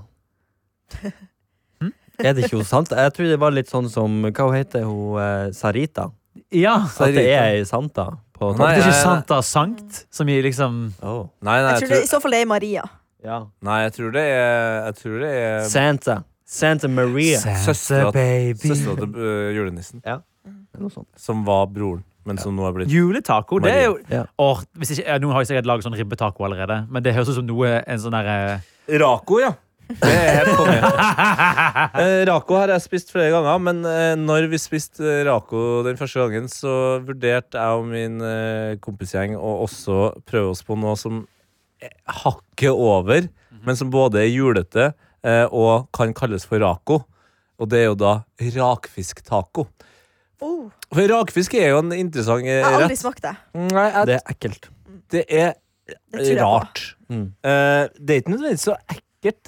Speaker 4: Er det ikke hos Santa? Jeg tror det var litt sånn som Hva hun heter hun? eh, Sarita?
Speaker 5: Ja.
Speaker 4: At det er ei Santa på
Speaker 5: Det
Speaker 2: Nei,
Speaker 5: er
Speaker 2: jeg-
Speaker 5: ikke Santa Sankt, som gir liksom
Speaker 4: Oh.
Speaker 2: Nei, nei,
Speaker 3: Jeg tror det, I så fall det er Maria.
Speaker 4: Ja.
Speaker 2: Nei, jeg tror det er Jeg tror det er
Speaker 4: Santa. Santa Maria.
Speaker 2: Søstera-
Speaker 5: baby.
Speaker 2: søstera til øh, julenissen,
Speaker 4: Noe sånt.
Speaker 2: som var broren, men som nå er blitt
Speaker 5: Juletaco, det er jo
Speaker 4: Ja.
Speaker 5: Åh, hvis ikke, ja, Nå har jeg sikkert laget sånn ribbetaco allerede, men det høres ut som noe en sånn derre
Speaker 2: Raco, ja. Det er helt konge. Eh, Rako har jeg spist flere ganger, men eh, når vi spiste eh, Rako den første gangen, så vurderte jeg og min eh, kompisgjeng å også prøve oss på noe som eh, hakker over, men som både er julete eh, og kan kalles for Rako. Og det er jo da rakfisktaco.
Speaker 3: Oh,
Speaker 2: For rakfisk er jo en interessant eh,
Speaker 3: jeg har aldri
Speaker 2: rett.
Speaker 3: smakt det.
Speaker 2: Nei, jeg
Speaker 4: Det er ekkelt.
Speaker 2: det er
Speaker 3: Det tror jeg
Speaker 2: rart.
Speaker 4: Mm.
Speaker 2: Eh, det er ikke nødvendigvis så ekkelt.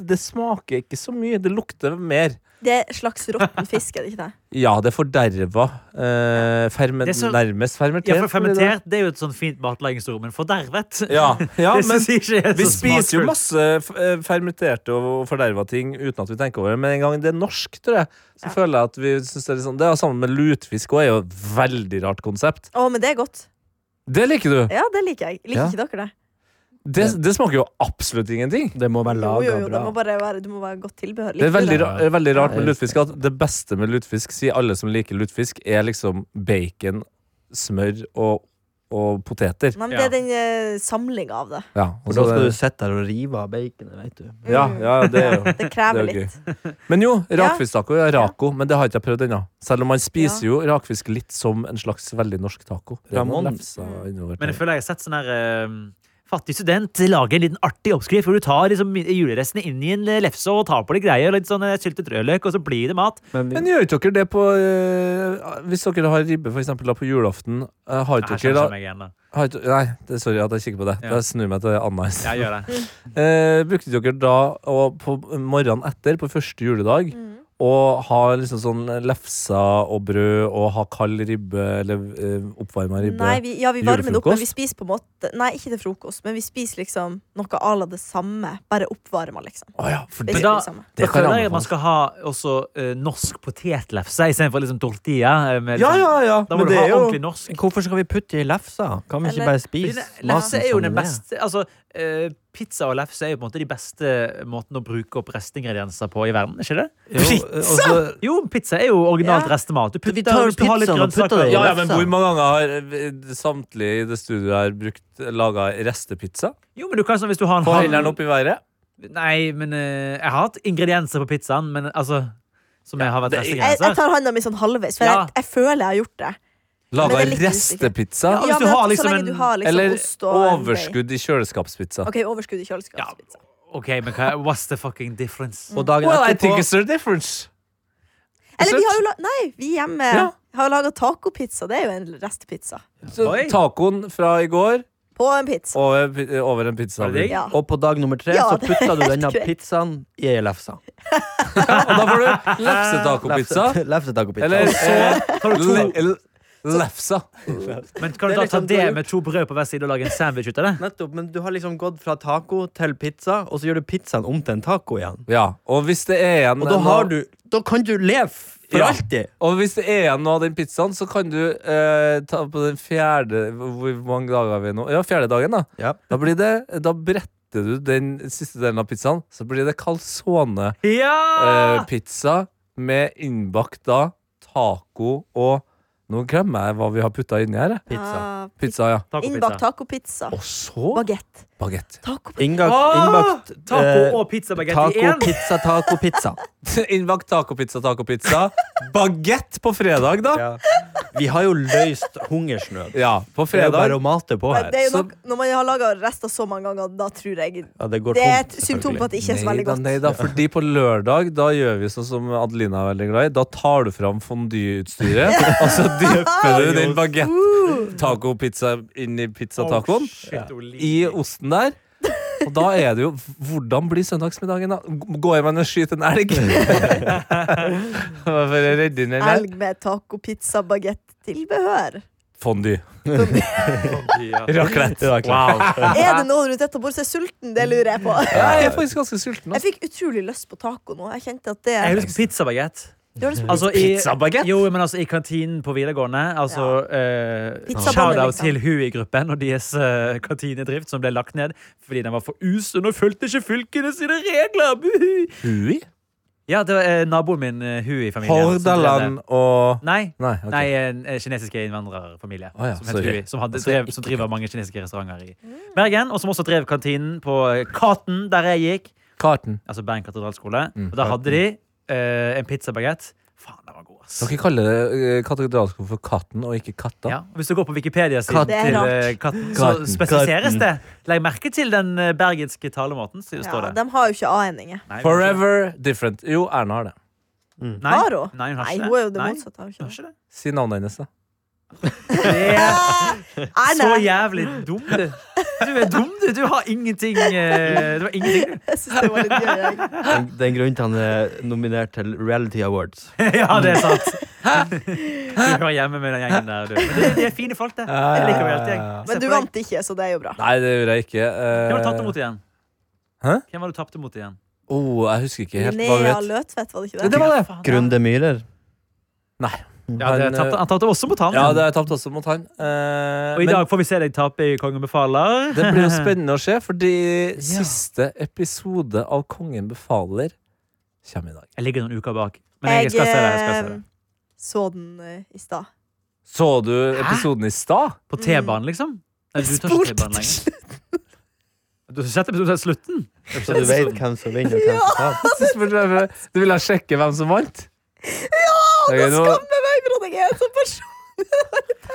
Speaker 2: Det smaker ikke så mye. Det lukter mer.
Speaker 3: Det er en slags råtten fisk, er det ikke det?
Speaker 2: Ja, det er forderva. Eh, ferme-
Speaker 5: Det er så-
Speaker 2: nærmest fermentert.
Speaker 5: Ja, for
Speaker 2: blir det da.
Speaker 5: fermentert det er jo et sånn fint matlagingsord, men fordervet
Speaker 2: Ja, ja
Speaker 5: det
Speaker 2: men
Speaker 5: synes jeg ikke er
Speaker 2: vi
Speaker 5: så
Speaker 2: spiser jo
Speaker 5: smaksfullt.
Speaker 2: masse f- eh, fermenterte og forderva ting uten at vi tenker over det, men en gang det er norsk, tror jeg, så føler jeg at vi synes det er litt sånn Det er sammen med lutfisk òg, er jo et veldig rart konsept.
Speaker 3: Å, men det er godt.
Speaker 2: Det liker du.
Speaker 3: Ja, det liker jeg. Liker
Speaker 2: Ja.
Speaker 3: ikke dere det?
Speaker 2: Det, det smaker jo absolutt ingenting.
Speaker 4: Det må være
Speaker 3: Jo, jo,
Speaker 4: laga
Speaker 3: jo, det
Speaker 4: bra.
Speaker 3: må bare være, det må være godt tilbehør.
Speaker 2: Det er
Speaker 3: Liker du
Speaker 2: veldig,
Speaker 4: det?
Speaker 2: ra eh, veldig rart med
Speaker 4: Ja, jeg
Speaker 2: lutfisk at det beste med lutfisk, sier alle som liker lutfisk, er liksom bacon, smør og, og poteter.
Speaker 3: Nei, men
Speaker 5: Ja.
Speaker 3: Det er den eh, samlinga av det.
Speaker 2: Ja, og
Speaker 4: For
Speaker 2: så
Speaker 4: da skal
Speaker 2: det-
Speaker 4: du sitte der og rive av baconet, vet du.
Speaker 2: ja, ja, det er jo
Speaker 3: Det krever
Speaker 2: Det er jo
Speaker 3: litt.
Speaker 2: Men jo,
Speaker 3: Ja.
Speaker 2: rakfisktaco er rako, men det har ikke jeg prøvd ennå. Selv om man spiser jo rakfisk litt som en slags veldig norsk taco. Det må
Speaker 4: Ramon.
Speaker 2: lefsa innover
Speaker 5: Men
Speaker 2: til.
Speaker 5: jeg føler jeg har sett sånn her eh, Fattig student lager en liten artig oppskrift hvor du tar liksom julerestene inn i en eh, lefse og tar på litt greier. Litt sånn eh, syltet rødløk, og så blir det mat.
Speaker 4: Men vi,
Speaker 2: Men gjør ikke dere det på eh, Hvis dere har ribbe for eksempel, da, på julaften eh, Har
Speaker 5: Her
Speaker 2: ikke
Speaker 5: skjønner
Speaker 2: dere da
Speaker 5: jeg meg igjen, da.
Speaker 2: har ikke, Nei, det, sorry at jeg kikker på det.
Speaker 5: Ja.
Speaker 2: Da snur jeg meg til Anna. i stedet.
Speaker 5: Jeg gjør det.
Speaker 2: Eh, brukte dere da og på morgenen etter, på første juledag,
Speaker 3: Mm.
Speaker 2: å ha liksom sånn lefser og brød og ha kald ribbe eller eh, oppvarma ribbe?
Speaker 3: Nei, vi, ja, vi varmer det opp, men
Speaker 2: Julefrokost?
Speaker 3: vi spiser på en måte Nei, ikke til frokost, men vi spiser liksom noe à la det samme, bare oppvarma, liksom.
Speaker 2: Å ja, for det,
Speaker 3: Basically
Speaker 5: Men da-
Speaker 3: det samme.
Speaker 5: Da
Speaker 2: det kan
Speaker 5: føler jeg at man
Speaker 2: anbefales.
Speaker 5: skal ha også eh, norsk potetlefse istedenfor liksom tortilla. eh, Med,
Speaker 2: Ja,
Speaker 5: liksom,
Speaker 2: ja, ja.
Speaker 5: Da må
Speaker 2: Men
Speaker 5: du
Speaker 2: det
Speaker 5: ha
Speaker 2: er jo
Speaker 5: ordentlig norsk.
Speaker 4: hvorfor skal vi putte i lefsa? Kan vi ikke
Speaker 3: Eller-
Speaker 4: bare
Speaker 5: Fordi
Speaker 4: spise
Speaker 5: det-
Speaker 4: maten
Speaker 5: Lefse er jo
Speaker 4: som
Speaker 5: den
Speaker 4: den er?
Speaker 5: beste altså, eh, Pizza og lefse er jo på en måte de beste måten å bruke opp restingredienser på i verden. ikke det?
Speaker 4: Jo, og så-
Speaker 5: Jo, pizza er jo originalt
Speaker 3: Ja.
Speaker 5: restemat. Du putter,
Speaker 4: Vi tar jo
Speaker 5: hvis du har litt
Speaker 4: pizzaen og putter
Speaker 5: grønnsaker
Speaker 4: det i
Speaker 2: ja, ja,
Speaker 5: ja,
Speaker 2: men
Speaker 4: lefsa.
Speaker 2: Hvor mange ganger har eh, samtlige i det studioet her brukt laga restepizza?
Speaker 5: Jo, men du kan sånn hvis du har en
Speaker 2: Få
Speaker 5: halv-
Speaker 2: hendene opp i været?
Speaker 5: Nei, men eh, jeg har hatt ingredienser på pizzaen, men altså Som jeg har vært
Speaker 3: Jeg, jeg
Speaker 5: restingredienser.
Speaker 3: tar handa mi sånn halvveis, for
Speaker 5: Ja.
Speaker 3: jeg, jeg føler jeg har gjort det.
Speaker 2: Laga
Speaker 3: Men det likte du sikkert.
Speaker 2: restepizza?
Speaker 5: Ja, hvis du
Speaker 3: men
Speaker 5: har
Speaker 3: så
Speaker 5: liksom
Speaker 3: lenge
Speaker 5: en-
Speaker 3: du har liksom
Speaker 2: Eller
Speaker 3: ost og en bacon.
Speaker 2: overskudd i kjøleskapspizza?
Speaker 3: OK, overskudd i kjøleskapspizza.
Speaker 5: OK, men hva, what's the fucking difference?
Speaker 4: Og dagen
Speaker 2: Well, I
Speaker 4: etterpå
Speaker 2: think it's a difference.
Speaker 3: Eller vi
Speaker 2: Søtt.
Speaker 3: har jo la Nei, vi hjemme
Speaker 2: Ja.
Speaker 3: har laga tacopizza. Det er jo en restpizza.
Speaker 2: Så
Speaker 5: Oi.
Speaker 2: tacoen fra i går
Speaker 3: På en pizza.
Speaker 2: over, pi- over en pizza.
Speaker 5: Var det digg?
Speaker 3: Ja.
Speaker 4: Og på dag nummer tre
Speaker 3: Ja,
Speaker 4: så
Speaker 3: det er
Speaker 4: putta du
Speaker 3: helt
Speaker 4: denne
Speaker 3: korrekt.
Speaker 4: pizzaen i lefsa.
Speaker 2: Og da får du lefsetacopizza.
Speaker 4: Lefse- Lefsetacopizza.
Speaker 2: Eller eh,
Speaker 5: Tar du to,
Speaker 2: le- l- lefsa.
Speaker 5: men kan du
Speaker 4: Det er
Speaker 5: da ta
Speaker 4: liksom
Speaker 5: det
Speaker 4: dårlig.
Speaker 5: med to brød på hver side og lage en sandwich ut av det?
Speaker 4: Nettopp, men du har liksom gått fra taco til pizza, og så gjør du pizzaen om til en taco igjen.
Speaker 2: Ja, og hvis det er igjen
Speaker 4: Og da,
Speaker 2: noe-
Speaker 4: har du, da kan du leve for
Speaker 2: Ja.
Speaker 4: alltid!
Speaker 2: og hvis det er igjen noe av den pizzaen, så kan du eh, ta på den fjerde Hvor mange dager har vi nå? Ja, fjerde dagen, da.
Speaker 4: Ja.
Speaker 2: Da, blir det, da bretter du den siste delen av pizzaen, så blir det calzone-pizza
Speaker 5: Ja!
Speaker 4: Eh,
Speaker 2: med innbakt da taco og Nå glemmer jeg hva vi har putta inni her. jeg.
Speaker 4: Pizza.
Speaker 3: Ah,
Speaker 2: Pizza, ja.
Speaker 5: Tacopizza.
Speaker 3: Innbakt tacopizza.
Speaker 2: Og så
Speaker 3: Bagett.
Speaker 2: bagett.
Speaker 3: Tacopizza.
Speaker 4: Innbakt,
Speaker 5: Ah,
Speaker 4: innbakt eh,
Speaker 5: Taco og pizzabaguette i
Speaker 4: Taco,
Speaker 5: én.
Speaker 4: pizza, taco, pizza.
Speaker 2: Innbakt tacopizza, tacopizza. Bagett på fredag, da. Ja,
Speaker 4: Vi har jo løst hungersnød.
Speaker 2: på
Speaker 4: Det er jo bare
Speaker 2: fredag.
Speaker 4: å mate på her.
Speaker 3: Det er jo
Speaker 2: så-
Speaker 3: nok, når man har laga rester så mange ganger, da tror jeg
Speaker 4: Ja, det, går
Speaker 3: Det er
Speaker 4: tomt,
Speaker 3: et symptom på at det ikke er så
Speaker 2: Nei
Speaker 3: veldig
Speaker 2: da,
Speaker 3: godt.
Speaker 2: nei da, fordi på lørdag da gjør vi sånn som Adelina er veldig glad i. Da tar du fram fondyutstyret, og så dypper du den bagett-tacopizza inn i pizzatacoen.
Speaker 5: Shit, Olive.
Speaker 2: I osten der. Og da er det jo Hvordan blir søndagsmiddagen, da? G- Går man og skyter en elg? For å redde inn en elg?
Speaker 3: Elg med tacopizza-bagett-tilbehør.
Speaker 2: Fondy.
Speaker 5: Ja.
Speaker 2: Raclette.
Speaker 5: Wow.
Speaker 3: Er det noen rundt dette bordet som er sulten? Det lurer jeg på.
Speaker 2: Jeg er faktisk ganske sulten. altså.
Speaker 3: Jeg fikk utrolig lyst på taco nå. Jeg kjente at det liksom-
Speaker 5: Jeg husker pizzabaguette.
Speaker 3: Du har lyst på
Speaker 5: Altså, i-
Speaker 2: Pizzabaguette?
Speaker 5: Jo, men altså i kantinen på videregående. Altså, eh,
Speaker 3: Pizzabonde,
Speaker 5: Shout-out
Speaker 3: liksom.
Speaker 5: til Hui-gruppen og deres eh, kantinedrift som ble lagt ned fordi den var for usunn og fulgte ikke fylkene sine regler. Buhu.
Speaker 2: Hui?
Speaker 5: Ja, det var eh, naboen min, eh, Hui-familien. som drev det.
Speaker 2: Hordaland og
Speaker 5: Nei.
Speaker 2: Nei, ok.
Speaker 5: Nei, en eh, kinesiske innvandrerfamilie.
Speaker 2: Å ja,
Speaker 5: som, het
Speaker 2: sorry.
Speaker 5: Hui, som, hadde, drev, som driver mange kinesiske restauranter i Bergen. Og som også drev kantinen på eh, Katen, der jeg gikk.
Speaker 2: Karten.
Speaker 5: altså Bern katedralskole.
Speaker 2: Mm.
Speaker 5: Og da hadde de eh, en pizzabagett. Faen, den var god, ass.
Speaker 2: Dere kaller det eh, katedralskole for Katten og ikke Katta.
Speaker 5: Ja, og hvis du går på Wikipedia-siden
Speaker 3: Katten. Det er
Speaker 5: til eh,
Speaker 3: rart.
Speaker 5: katten,
Speaker 2: Katten.
Speaker 5: så spesifiseres
Speaker 4: Katten.
Speaker 5: det. Legg merke til den eh, bergenske talemåten. Så står
Speaker 3: Ja,
Speaker 5: det.
Speaker 3: de har jo ikke a-endinger.
Speaker 5: Nei,
Speaker 2: Forever different. Jo, Erna har det.
Speaker 5: Nei,
Speaker 3: Har hun?
Speaker 5: Nei, hun har
Speaker 3: Nei,
Speaker 5: ikke
Speaker 3: hun er jo det
Speaker 5: Nei,
Speaker 3: motsatte. Har hun
Speaker 5: hun
Speaker 3: ikke
Speaker 5: har
Speaker 3: det.
Speaker 5: ikke det.
Speaker 2: Si navnet hennes, da.
Speaker 5: det er så
Speaker 3: Erne,
Speaker 5: jævlig dum, du. Du er dum, du. Du har ingenting. eh, Du har ingenting. du.
Speaker 3: jeg synes det var litt gøy. jeg.
Speaker 4: Det det er en grunn til han er nominert til Reality Awards.
Speaker 5: Ja, det er sant. Du hører hjemme med den gjengen der, du. Men det, de er fine folk, det. Jeg liker jo helt gjeng. Se
Speaker 3: Men du
Speaker 5: på deg.
Speaker 3: vant ikke, så det er jo bra.
Speaker 2: Nei, det gjorde jeg ikke.
Speaker 5: Hvem var du
Speaker 2: Eh,
Speaker 5: tapt mot igjen?
Speaker 2: Hæ?
Speaker 5: Hvem var du tapt mot igjen?
Speaker 2: oh, jeg husker ikke helt hva hun
Speaker 3: Linnea
Speaker 2: het.
Speaker 3: Løtvedt, var det ikke
Speaker 2: Ja,
Speaker 3: det?
Speaker 2: det var det.
Speaker 5: Faen,
Speaker 4: Grunde Myhrer.
Speaker 5: Ja, det,
Speaker 2: Men,
Speaker 5: tapte, han tapte også mot han.
Speaker 2: eh, Ja, det har jeg tapt også mot han. Eh,
Speaker 5: Og i
Speaker 2: men
Speaker 5: dag får vi se deg tape i Kongen befaler.
Speaker 2: det blir jo spennende å se, fordi siste episode av Kongen befaler kommer i dag.
Speaker 5: Jeg ligger noen uker bak. Men jeg skal se det. Jeg skal se det.
Speaker 3: eh, så den eh, i stad.
Speaker 2: Så du episoden i stad?
Speaker 5: På T-banen, liksom? Nei, du tar ikke T-banen lenger. Du har sett episoden til slutten?
Speaker 4: Så du vet hvem som vinner og hvem som taper.
Speaker 2: Så spurte jeg meg, Du ville sjekke hvem som vant? Ja!
Speaker 3: Nå skammer jeg meg for at jeg er en sånn person!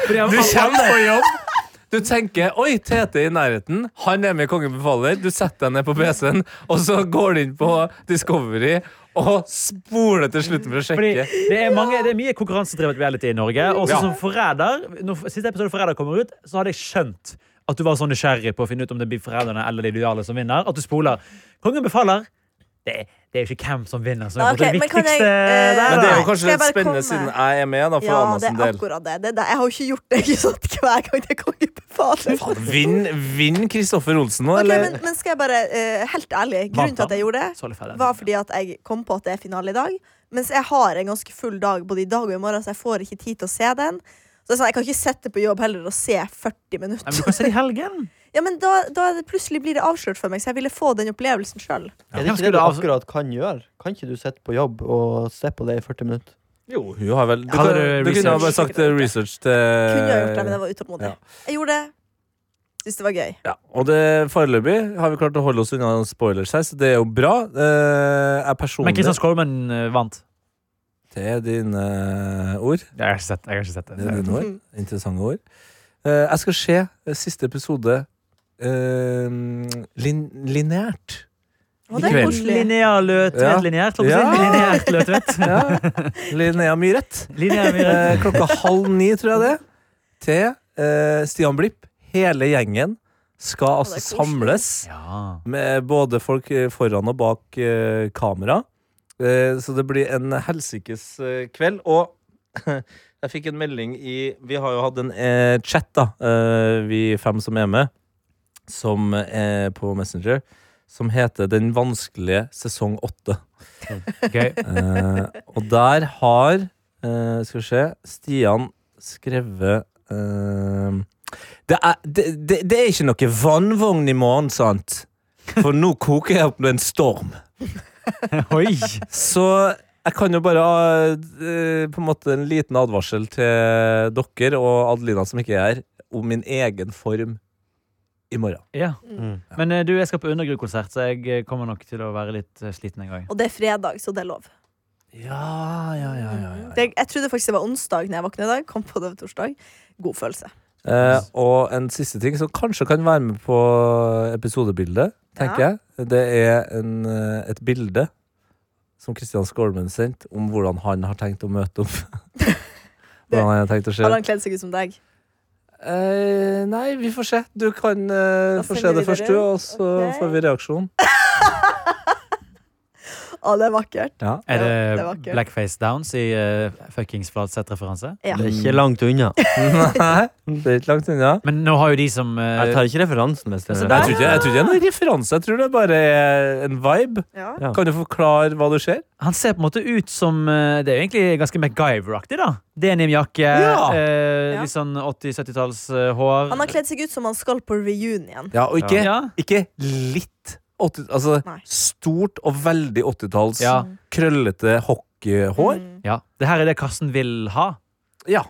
Speaker 2: Du kommer på jobb. Du tenker 'oi, Tete er i nærheten', han er med i Kongen befaler. Du setter deg ned på PC-en, og så går du inn på Discovery og spoler til slutten for å
Speaker 5: Fordi
Speaker 2: sjekke.
Speaker 5: det er, mange, det er mye konkurransedrevet reality i Norge. Og
Speaker 2: Ja.
Speaker 5: som forræder, når siste episode forræder kommer ut, så hadde jeg skjønt at du var så nysgjerrig på å finne ut om det blir forræderne eller de lojale som vinner. At du spoler. Kongen befaler. Det, det er jo ikke hvem som vinner, som er
Speaker 3: Nei,
Speaker 5: på en måte
Speaker 3: ok, men
Speaker 5: det
Speaker 3: kan jeg,
Speaker 5: viktigste
Speaker 3: eh,
Speaker 5: der.
Speaker 2: Men det er jo
Speaker 5: da.
Speaker 3: Skal
Speaker 2: kanskje
Speaker 3: jeg
Speaker 2: litt
Speaker 3: bare
Speaker 2: spennende
Speaker 3: komme?
Speaker 2: siden jeg er med, da, for
Speaker 3: Ja,
Speaker 2: Anna
Speaker 3: det
Speaker 2: sin
Speaker 3: er
Speaker 2: del.
Speaker 3: akkurat det. det, er det. Jeg har jo ikke gjort det ikke sant, hver gang det er kongebefaler.
Speaker 2: Vinn vinn Kristoffer Olsen nå,
Speaker 3: Ok,
Speaker 2: eller?
Speaker 3: men, men skal jeg bare, eh, helt ærlig, grunnen til at jeg gjorde det,
Speaker 5: Så er det ferdig.
Speaker 3: var fordi at jeg kom på at det er finale i dag. Mens jeg har en ganske full dag både i dag og i morgen, så jeg får ikke tid til å se den. Så det er sånn, Jeg kan ikke sette på jobb heller og se 40
Speaker 5: Nei, men du
Speaker 3: minutter.
Speaker 5: kan se det i helgen.
Speaker 3: Ja, men da, da er det plutselig blir det avslørt for meg, så jeg ville få den opplevelsen sjøl.
Speaker 4: Er
Speaker 5: Hvem
Speaker 4: det ikke
Speaker 5: skulle
Speaker 4: det du
Speaker 5: av-
Speaker 4: akkurat kan gjøre? Kan ikke du sitte på jobb og se på det i 40 minutter?
Speaker 2: Jo, hun har vel Du,
Speaker 5: Hadde
Speaker 2: kan,
Speaker 5: du
Speaker 2: du kunne ha
Speaker 5: research?
Speaker 2: bare sagt eh, research til
Speaker 3: Kunne jeg gjort det, men jeg var utålmodig.
Speaker 2: Eh, ja.
Speaker 3: Jeg gjorde det. Syns det var gøy.
Speaker 2: Ja, og det foreløpig har vi klart å holde oss unna spoilers her, så det er jo bra. Eh, jeg
Speaker 5: Men
Speaker 2: personlig
Speaker 5: Kristian Skolmen eh, vant.
Speaker 2: til dine ord.
Speaker 5: Jeg har ikke sett jeg har ikke sett
Speaker 2: Det er
Speaker 5: det.
Speaker 2: dine
Speaker 3: Mm.
Speaker 2: ord. Interessante ord. Eh, jeg skal se eh, siste episode eh, lin lineært.
Speaker 3: Og det er
Speaker 2: Kveld.
Speaker 3: koselig.
Speaker 5: Linnea Løtvedt.
Speaker 2: Ja.
Speaker 5: Lineært, holdt jeg
Speaker 2: Ja.
Speaker 5: på å si. Lineært Løtvedt.
Speaker 2: Ja. Linnea Myhret.
Speaker 5: Linnea Myhre.
Speaker 2: Eh, klokka halv ni, tror jeg det, til eh, Stian Blipp. Hele gjengen skal
Speaker 3: det
Speaker 2: altså
Speaker 3: er
Speaker 2: samles
Speaker 5: Ja.
Speaker 2: med både folk eh, foran og bak eh, kamera. Eh, så det blir en helsikes eh, kveld. Og jeg fikk en melding i Vi har jo hatt en eh, chat, da, eh, vi fem som er med, som er på Messenger, som heter Den vanskelige sesong åtte.
Speaker 5: Ok.
Speaker 2: Eh, og der har eh, Skal vi se Stian skrevet eh, det, er, det, det, det er ikke noe vannvogn i morgen, sant? For nå koker jeg opp en storm.
Speaker 5: Oi!
Speaker 2: Så jeg kan jo bare ha eh, på en måte en liten advarsel til dere og Adelina som ikke er her, om min egen form i morgen.
Speaker 5: Ja.
Speaker 4: Mm.
Speaker 5: Men eh, du, jeg skal på Undergru-konsert, så jeg eh, kommer nok til å være litt eh, sliten en gang.
Speaker 3: Og det er fredag, så det er lov.
Speaker 2: Ja, ja, ja, ja, ja.
Speaker 3: Det, jeg trodde faktisk det var onsdag når jeg våkna i dag. Kom på det var torsdag. God følelse.
Speaker 2: Eh, og en siste ting som kanskje kan være med på episodebildet, tenker jeg. Det er en, eh, et bilde som Kristian Skolmen sendte om hvordan han har tenkt å møte opp. hvordan han har tenkt å se
Speaker 3: Har
Speaker 2: ut.
Speaker 3: han kledd seg ut som deg?
Speaker 2: Eh, nei, vi får se. Du kan eh,
Speaker 3: Da
Speaker 2: få se
Speaker 3: sender
Speaker 2: det
Speaker 3: vi
Speaker 2: først,
Speaker 3: dere
Speaker 2: du,
Speaker 3: ut.
Speaker 2: og så
Speaker 3: Ok.
Speaker 2: får vi reaksjon.
Speaker 3: Å, det er vakkert.
Speaker 2: Ja.
Speaker 5: Er det,
Speaker 3: det var kult.
Speaker 5: Blackface Downs i eh, fuckings Fladseth-referanse?
Speaker 3: Ja.
Speaker 4: Det er ikke langt unna.
Speaker 2: nei, det er ikke langt unna.
Speaker 5: Men nå har jo de som eh,
Speaker 4: Jeg tar ikke referansen. hvis det
Speaker 5: Altså,
Speaker 4: er
Speaker 5: der-
Speaker 2: Jeg tror, ikke, jeg tror ikke det er noen referanse, jeg tror det bare er en vibe.
Speaker 3: Ja.
Speaker 4: Ja.
Speaker 2: Kan du forklare hva du ser?
Speaker 5: Han ser på en måte ut som eh, Det er jo egentlig ganske MacGyver-aktig, da. Denimjakke,
Speaker 2: Ja.
Speaker 5: eh,
Speaker 3: Ja.
Speaker 5: litt sånn 80-70-talls eh, hår.
Speaker 3: Han har kledd seg ut som han skal på reunion.
Speaker 2: Ja, og ikke
Speaker 5: ja.
Speaker 2: Ikke litt 80, Altså
Speaker 3: Nei.
Speaker 2: stort og veldig 80-talls
Speaker 5: Ja.
Speaker 2: krøllete hockeyhår.
Speaker 3: Mm.
Speaker 5: ja. Det her er det Karsten vil ha.
Speaker 2: Ja.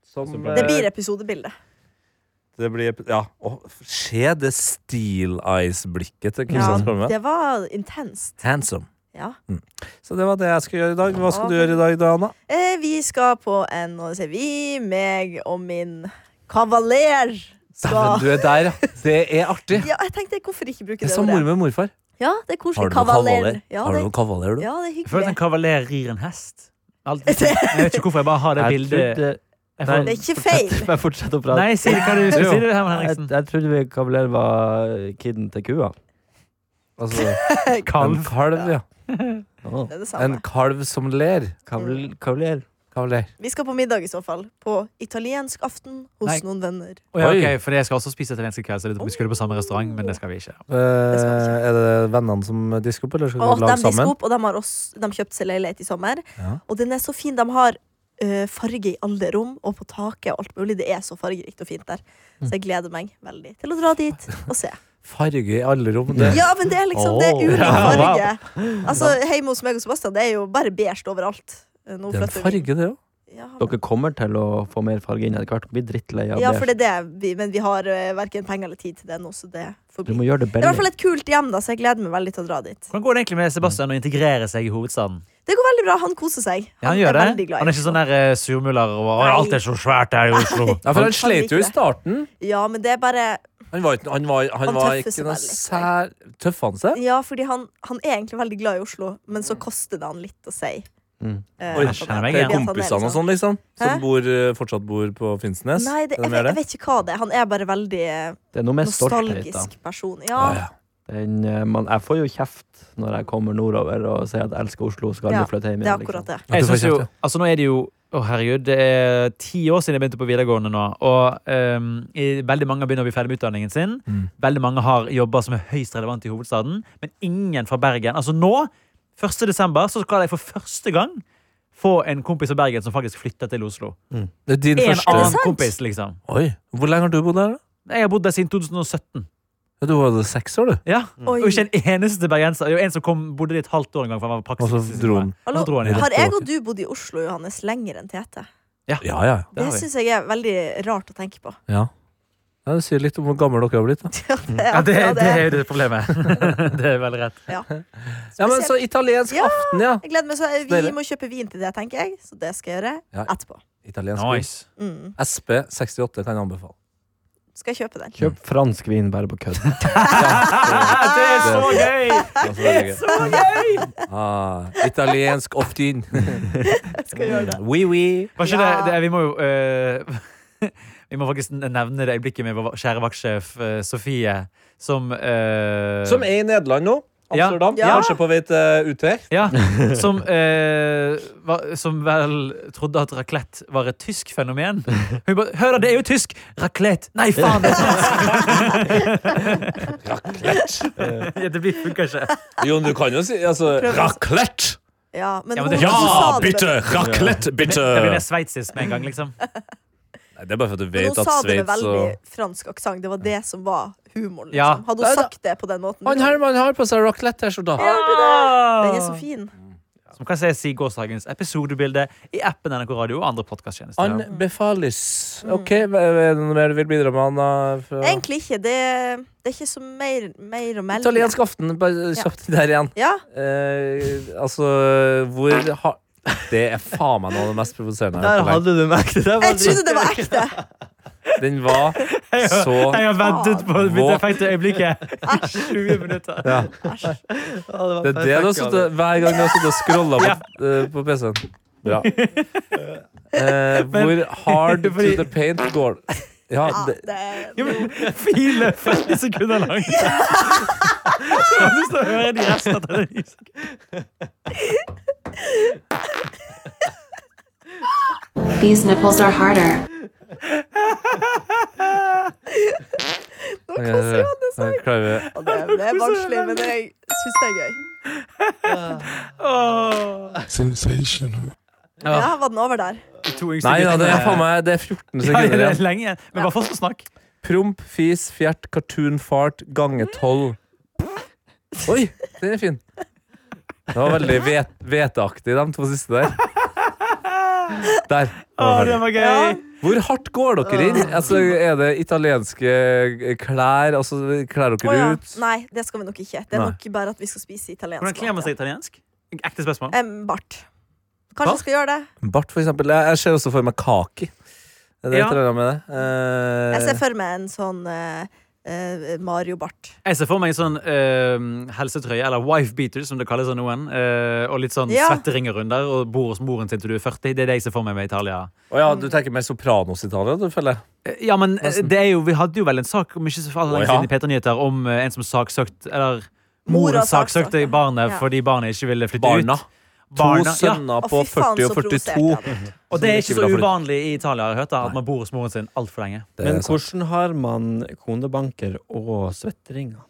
Speaker 4: Så
Speaker 2: Sånn Som,
Speaker 4: bra.
Speaker 3: Det blir episodebildet.
Speaker 2: Det blir Ja. Å, se det Steel Eyes-blikket til
Speaker 3: Ja,
Speaker 2: Kristian Skolme.
Speaker 3: det var intenst.
Speaker 2: Handsome.
Speaker 3: Ja.
Speaker 2: Så det var det jeg skulle gjøre i dag. Hva skal du gjøre i dag, da, Anna?
Speaker 3: Eh, vi skal på en Nå sier vi, meg og min kavaler.
Speaker 2: Dæven,
Speaker 3: Skal.
Speaker 2: du er der, ja. Det er artig.
Speaker 3: Ja, jeg tenkte, hvorfor ikke bruke
Speaker 2: Det
Speaker 3: det
Speaker 2: er som mor
Speaker 3: ordet?
Speaker 2: med morfar.
Speaker 3: Ja, det er koselig.
Speaker 2: Har du noen kavaler?
Speaker 3: Kavaler. Ja,
Speaker 2: Har du
Speaker 3: det,
Speaker 2: noen kavaler, du?
Speaker 3: ja, det er
Speaker 5: Jeg føler at en
Speaker 3: hyggelig.
Speaker 5: kavaler rir en hest. Alt, jeg vet ikke hvorfor. Jeg bare har det
Speaker 4: Jeg
Speaker 5: bildet.
Speaker 4: trodde-
Speaker 5: Jeg
Speaker 4: Nei.
Speaker 5: får,
Speaker 3: Det er ikke feil.
Speaker 4: Bare fortsett å prate.
Speaker 5: nei, si det hva du
Speaker 4: Jo.
Speaker 5: si det, Herman
Speaker 4: jeg,
Speaker 5: Henriksen.
Speaker 4: jeg trodde vi kavaler var kiden til kua.
Speaker 2: Altså, en
Speaker 5: Kalv.
Speaker 2: kalv, ja.
Speaker 4: Oh.
Speaker 3: Det er det
Speaker 2: En
Speaker 3: samme.
Speaker 2: kalv som ler.
Speaker 4: Kaval- Kavaler.
Speaker 2: Kavaler.
Speaker 3: Vi skal på middag i så fall. På italiensk aften hos
Speaker 5: Nei.
Speaker 3: noen venner.
Speaker 5: Oh, ja,
Speaker 2: Oi.
Speaker 5: ok, for jeg skal også spise italiensk i kveld, så det- vi skulle på samme restaurant, men det skal vi ikke.
Speaker 2: Eh, er det vennene som disker opp, eller skal dere
Speaker 3: Og de
Speaker 2: lage
Speaker 3: disker
Speaker 2: sammen?
Speaker 3: opp, og de har også, de kjøpte seg leilighet i sommer.
Speaker 2: Ja.
Speaker 3: Og den er så fin. De har eh, farge i alle rom og på taket og alt mulig. Det er så fargerikt og fint der. Så jeg gleder meg veldig til å dra dit og se.
Speaker 2: Farge i alle rom. Det.
Speaker 3: Ja, men det er liksom det er ulik
Speaker 5: Åh.
Speaker 3: farge. Altså, Hjemme hos meg og Sebastian det er jo bare beige overalt. Eh, Nå
Speaker 2: det er en
Speaker 3: flytter vi-
Speaker 2: farge, det òg.
Speaker 3: Ja, men-
Speaker 4: Dere kommer til å få mer farge inn etter hvert. Blir drittlei av
Speaker 3: ja, for det er det. vi- Men vi har uh, verken penger eller tid til det nå, så det får
Speaker 4: Du
Speaker 3: bli.
Speaker 4: må gjøre det
Speaker 3: Det er i hvert fall
Speaker 4: billig.
Speaker 3: et kult hjem, da, så jeg gleder meg veldig til å dra dit.
Speaker 5: Hvordan går det egentlig med Sebastian å integrere seg i hovedstaden?
Speaker 3: Det går veldig bra. Han koser seg.
Speaker 5: Ja, han gjør det.
Speaker 3: er veldig glad i
Speaker 5: Han er ikke sånn der eh, surmuler og «Å,
Speaker 3: Nei.
Speaker 5: alt er så svært her i Oslo.
Speaker 2: Ja, for
Speaker 3: Han
Speaker 2: han slet jo i
Speaker 3: liker det.
Speaker 2: starten.
Speaker 3: Ja, men det er bare
Speaker 2: Han var, ikke- han var, han
Speaker 3: Han
Speaker 2: var
Speaker 3: tøffer
Speaker 2: ikke
Speaker 3: seg
Speaker 2: noe
Speaker 3: veldig, tror
Speaker 2: sær... Tøffer han seg?
Speaker 3: Ja, fordi han, han er egentlig veldig glad i Oslo, men så koster det han litt å si.
Speaker 4: Mm.
Speaker 3: eh,
Speaker 2: Oi,
Speaker 3: at han
Speaker 5: Mm. kjenner
Speaker 3: er-
Speaker 5: meg
Speaker 2: Det er
Speaker 5: Ja.
Speaker 3: at han er litt
Speaker 2: kompisene og sånn, liksom? Som
Speaker 3: Hæ?
Speaker 2: bor, eh, fortsatt bor på Finnsnes?
Speaker 3: Nei, det,
Speaker 2: Er
Speaker 3: jeg,
Speaker 2: mer
Speaker 3: vet, jeg vet ikke hva det er. Han er bare veldig eh,
Speaker 4: Det er noe med stolthet. da.
Speaker 3: nostalgisk person.
Speaker 2: Å,
Speaker 3: Ja,
Speaker 2: ja.
Speaker 4: Den, eh, man, jeg får jo kjeft når jeg kommer nordover og sier at jeg elsker Oslo og skal aldri
Speaker 3: Ja,
Speaker 4: flytte hjem
Speaker 3: det er
Speaker 4: igjen. liksom.
Speaker 3: akkurat det.
Speaker 2: At
Speaker 5: Jeg
Speaker 2: du får
Speaker 5: synes jo,
Speaker 2: kjeft,
Speaker 5: altså nå er det jo Å herregud, det er ti år siden jeg begynte på videregående nå. Og ehm, i, veldig mange begynner å bli ferdig med utdanningen sin.
Speaker 2: Mm.
Speaker 5: Veldig mange har jobber som er høyst relevant i hovedstaden, men ingen fra Bergen. Altså nå, 1. desember, så skal jeg for første gang få en kompis fra Bergen som faktisk flytter til Oslo.
Speaker 2: Det er din
Speaker 5: En
Speaker 2: første
Speaker 5: annen
Speaker 3: sant?
Speaker 5: kompis, liksom.
Speaker 2: Oi, Hvor lenge har du bodd her? da?
Speaker 5: Jeg har bodd der siden 2017.
Speaker 2: Ja, Du var jo seks år, du.
Speaker 5: Ja,
Speaker 3: Oi.
Speaker 5: Og ikke en eneste bergenser. Det er jo en som kom, bodde der et halvt år en gang. For han var
Speaker 2: Og så
Speaker 5: praksis,
Speaker 2: dro han.
Speaker 5: Og så dro han igjen.
Speaker 3: Har jeg og du bodd i Oslo, Johannes, lenger enn Tete?
Speaker 2: Ja, ja.
Speaker 5: Det
Speaker 3: Det
Speaker 5: har vi.
Speaker 3: syns jeg er veldig rart å tenke på.
Speaker 2: ja. ja Det sier litt om hvor gammel dere har blitt. da
Speaker 3: Ja, det
Speaker 5: Ja, det,
Speaker 3: akkurat
Speaker 5: det er jo det problemet. det er veldig rett.
Speaker 2: Ja, men Så italiensk
Speaker 3: Ja.
Speaker 2: aften, ja.
Speaker 3: Jeg gleder meg, så eh, Vi
Speaker 2: Deilig.
Speaker 3: må kjøpe vin til det, tenker jeg. Så det skal jeg
Speaker 2: Ja.
Speaker 3: gjøre etterpå.
Speaker 2: Italiensk
Speaker 5: Nice.
Speaker 3: Mm.
Speaker 2: SP68 kan jeg anbefale.
Speaker 3: Skal jeg kjøpe den?
Speaker 4: Kjøp fransk vin bare på kødd.
Speaker 5: det er så gøy!
Speaker 2: Altså, det er gøy. Ah, italiensk oftin.
Speaker 3: Skal jeg gjøre det.
Speaker 2: Oui, oui.
Speaker 5: Var ikke
Speaker 3: Ja.
Speaker 5: det, det Vi må jo eh, Vi må faktisk nevne det øyeblikket med vår kjære vaktsjef eh, Sofie, som eh,
Speaker 2: Som er i Nederland nå.
Speaker 5: Ja.
Speaker 2: Amsterdam.
Speaker 3: Ja.
Speaker 2: Kanskje på vei til UT.
Speaker 5: ja, som, eh, var, som vel trodde at raclette var et tysk fenomen. Hun bare 'Hør, da, det er jo tysk!' Raclette! Nei, faen! Det, er fransk. ja, det blir- funker ikke.
Speaker 2: Jon, du kan jo si altså,
Speaker 3: Prøv å-
Speaker 2: Raclette!
Speaker 3: Ja, men
Speaker 5: Ja, men
Speaker 3: hun-
Speaker 5: det-
Speaker 3: hun sa det
Speaker 2: bitte! Raclette, bitte!
Speaker 5: Det blir det sveitsisk med en gang, liksom.
Speaker 2: Nei, det er bare for at du
Speaker 3: Men
Speaker 2: vet
Speaker 3: hun
Speaker 2: at
Speaker 3: sa det med
Speaker 2: Sveits
Speaker 3: veldig
Speaker 2: og
Speaker 3: fransk aksent. Det var det som var humoren. Liksom.
Speaker 5: Ja.
Speaker 3: Hadde
Speaker 2: Det
Speaker 3: hun
Speaker 2: er det.
Speaker 3: sagt det på den måten? liksom?
Speaker 2: Han Herman har på seg raclette-T-skjorta.
Speaker 3: Den er så fin.
Speaker 5: Som kan ses i gårsdagens episodebilde i appen NRK Radio og andre podkasttjenester.
Speaker 2: Anbefales. OK, er det noe mer du vil bidra med, Anna? Fra
Speaker 3: Egentlig ikke. Det, det er ikke så mer, mer å melde.
Speaker 2: italiensk aften, bare kjapt der igjen.
Speaker 3: Ja,
Speaker 2: Eh, altså, hvor har Det er faen meg noe av det mest provoserende. jeg har
Speaker 4: Der
Speaker 2: hørt på lenge.
Speaker 4: hadde du meg! Det der var
Speaker 3: jeg trodde det var ekte.
Speaker 2: Den var så
Speaker 5: Jeg har ventet på mitt
Speaker 2: Vå-
Speaker 5: perfekte øyeblikket i 20 minutter.
Speaker 2: ja.
Speaker 3: Æsj.
Speaker 2: Det er det du har suttet- hver gang du har sittet og scrolla på, eh, på PC-en. Bra. Eh, hvor hard
Speaker 5: fordi- Ah,
Speaker 2: to the paint går Ja,
Speaker 3: Ja,
Speaker 2: det,
Speaker 3: det er
Speaker 5: Jo, men File 40 sekunder langt. Så har du lyst til å høre de resten av den musikken.
Speaker 6: These nipples are harder.
Speaker 3: Nå koser jeg meg.
Speaker 2: jeg klarer
Speaker 3: Og Det det er barnslig, men jeg syns det er gøy.
Speaker 5: Åh.
Speaker 7: Sensational.
Speaker 3: Ja, var den over der?
Speaker 5: De to yngste
Speaker 2: Nei da, det er
Speaker 5: guttene-
Speaker 2: faen meg Det er 14
Speaker 5: Ja,
Speaker 2: sekunder
Speaker 5: det er
Speaker 2: igjen.
Speaker 5: lenge igjen. Men bare fortsett å snakke.
Speaker 2: Promp, fis, fjert, cartoon, fart, gange 12. Oi, den er fin. Det var veldig hvet- hveteaktig, de to siste der. Der.
Speaker 5: Åh,
Speaker 2: var den ferdig.
Speaker 5: det var
Speaker 3: Ja.
Speaker 5: gøy.
Speaker 2: Hvor hardt går dere inn?
Speaker 3: Ah.
Speaker 2: Altså, er det italienske klær? Altså, klær dere
Speaker 3: Å ja.
Speaker 2: ut?
Speaker 3: Nei, det skal vi nok ikke. Det er
Speaker 2: Nei.
Speaker 3: nok bare at vi skal spise italiensk.
Speaker 5: Hvordan kler man seg italiensk? Ekte spørsmål.
Speaker 3: Em, bart. Kanskje
Speaker 5: Bart?
Speaker 3: jeg skal gjøre det.
Speaker 2: Bart, for eksempel. Jeg, jeg ser også for meg kaki. Er det
Speaker 5: Ja.
Speaker 2: et eller annet med det? Eh,
Speaker 3: Jeg ser for meg en sånn eh, eh, Mario-bart.
Speaker 5: Jeg ser for meg en sånn eh, helsetrøye, eller wife beater, som det kalles av noen. eh, og litt sånn
Speaker 3: Ja.
Speaker 5: svetteringer under, og bor hos moren sin til du er 40. Det er det jeg ser for meg med Italia.
Speaker 2: Å ja, du tenker mer Sopranos-Italia, du, føler jeg.
Speaker 5: Eh, Ja, men eh, det er jo, vi hadde jo vel en sak om ikke så altfor lenge
Speaker 2: Å, ja.
Speaker 5: siden i Peter Nyheter om eh, en som saksøkt Eller
Speaker 3: Mora
Speaker 5: moren saksøkte
Speaker 3: saksøkte.
Speaker 5: barnet
Speaker 3: Ja.
Speaker 5: fordi barnet ikke ville flytte
Speaker 2: Barna.
Speaker 5: ut.
Speaker 2: To
Speaker 5: Barna, ja.
Speaker 2: sønner
Speaker 3: Å,
Speaker 2: på
Speaker 3: fy faen,
Speaker 2: 40 og
Speaker 3: så
Speaker 2: 42.
Speaker 3: provosert jeg hadde vært.
Speaker 5: Og det er
Speaker 2: Som
Speaker 5: ikke
Speaker 2: ikke
Speaker 5: så
Speaker 2: vil ha flytt.
Speaker 5: uvanlig i Italia har jeg hørt da, at man bor hos moren sin altfor lenge.
Speaker 2: Det er
Speaker 4: Men
Speaker 2: sant.
Speaker 4: hvordan har man konebanker og svetteringer?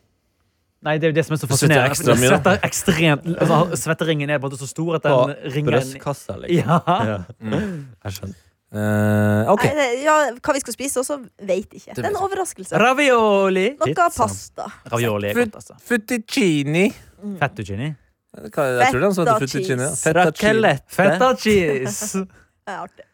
Speaker 5: Nei, det er jo det som er så
Speaker 2: svetter
Speaker 5: fascinerende.
Speaker 2: ekstra
Speaker 5: for
Speaker 2: mye,
Speaker 5: du
Speaker 2: da.
Speaker 5: svetter ekstremt altså, Svetteringen er på en måte så stor at
Speaker 4: På
Speaker 5: den ringer inn-
Speaker 4: brystkassa, liksom? Mm.
Speaker 5: Ja.
Speaker 4: Jeg skjønner.
Speaker 2: Eh, ok.
Speaker 3: Nei, det- ja, hva vi skal spise også, veit ikke. Det er en overraskelse.
Speaker 5: Ravioli.
Speaker 3: Noe
Speaker 4: pizza.
Speaker 3: pasta.
Speaker 5: Ravioli er godt, altså.
Speaker 2: Fettuccini.
Speaker 5: Fettuccini.
Speaker 2: Hva- Jeg tror det er en som heter fettuccini. ja.
Speaker 3: Feta cheese.
Speaker 2: Fettuccine.
Speaker 5: Feta cheese.
Speaker 3: Det er artig.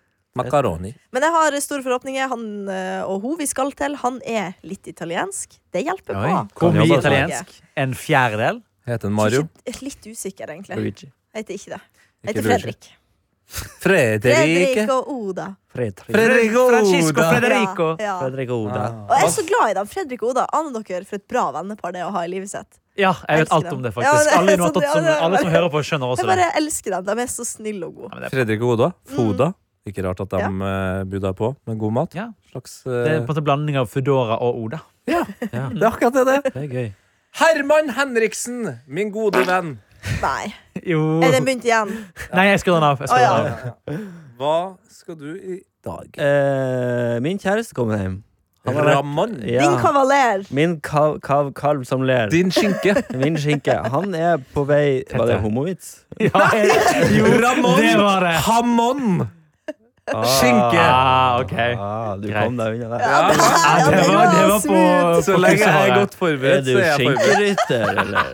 Speaker 2: Macaroni.
Speaker 3: Men jeg har store forhåpninger. Han eh, og hun vi skal til, han er litt italiensk. Det hjelper på.
Speaker 5: Oi, Hvor mye
Speaker 2: Jobber.
Speaker 5: italiensk? En fjerdedel?
Speaker 2: Heter den
Speaker 3: Jeg
Speaker 2: Mario?
Speaker 3: synes ikke- Litt usikker, egentlig.
Speaker 4: Luigi.
Speaker 3: Jeg heter ikke det. Jeg
Speaker 2: Ikke
Speaker 3: heter
Speaker 2: Luigi.
Speaker 3: Fredrik.
Speaker 2: Fredrike.
Speaker 3: Fredrik og Oda.
Speaker 4: Fredrik.
Speaker 2: Fredrico
Speaker 5: Francisco
Speaker 2: Oda.
Speaker 5: Frederico.
Speaker 3: Ja, ja.
Speaker 4: Fredrik og Oda.
Speaker 2: Ah.
Speaker 3: Og jeg er så glad i dem. Fredrik og Oda. Aner dere for et bra vennepar det er å ha i livet sitt?
Speaker 5: Ja, jeg vet
Speaker 3: Elsker
Speaker 5: alt
Speaker 3: dem.
Speaker 5: om det,
Speaker 3: Ja,
Speaker 5: faktisk.
Speaker 3: det er
Speaker 5: Alle, nå har
Speaker 3: sånn,
Speaker 5: tatt
Speaker 3: ja,
Speaker 5: som,
Speaker 3: det er-
Speaker 5: alle som hører på, skjønner
Speaker 3: Jeg
Speaker 5: også det.
Speaker 3: bare elsker dem. De er så snille og gode.
Speaker 2: Fredrik og Oda. Foda. Ikke rart at de
Speaker 3: Mm. Ja.
Speaker 2: eh, bød deg på med god mat.
Speaker 5: Ja.
Speaker 2: Slags,
Speaker 5: Det er
Speaker 2: eh,
Speaker 5: på en måte blanding av Foodora og Oda.
Speaker 2: det er akkurat det det er.
Speaker 4: Det er gøy.
Speaker 2: Herman Henriksen, min gode venn,
Speaker 3: Nei.
Speaker 5: Jo.
Speaker 3: Er den begynt igjen?
Speaker 5: Nei, jeg skrur den av. Jeg
Speaker 3: Å,
Speaker 5: skrur
Speaker 3: ja.
Speaker 5: den av.
Speaker 2: hva skal du i dag?
Speaker 4: Eh, min kjæreste kommer hjem. Han har vært-
Speaker 2: Ramon.
Speaker 4: Ja.
Speaker 3: Din kavaler.
Speaker 4: Min kav, kav, kalv som ler.
Speaker 2: Din skinke.
Speaker 4: Min skinke. Han er på vei Var det homovits?
Speaker 5: Ja, jeg- jo,
Speaker 2: Ramon.
Speaker 5: det var det.
Speaker 2: Hamon. Skinke.
Speaker 5: Ah, ok.
Speaker 4: Ah, du
Speaker 5: Greit.
Speaker 4: kom deg unna der.
Speaker 3: Ja, det, her, ja,
Speaker 5: det
Speaker 3: det
Speaker 5: var, det var
Speaker 3: var
Speaker 5: på,
Speaker 3: smooth.
Speaker 5: på
Speaker 2: Så lenge jeg er
Speaker 5: kursåret.
Speaker 2: godt
Speaker 4: Er
Speaker 2: forberedt,
Speaker 4: du
Speaker 2: så er jeg forberedt.
Speaker 4: skinkerytter, eller?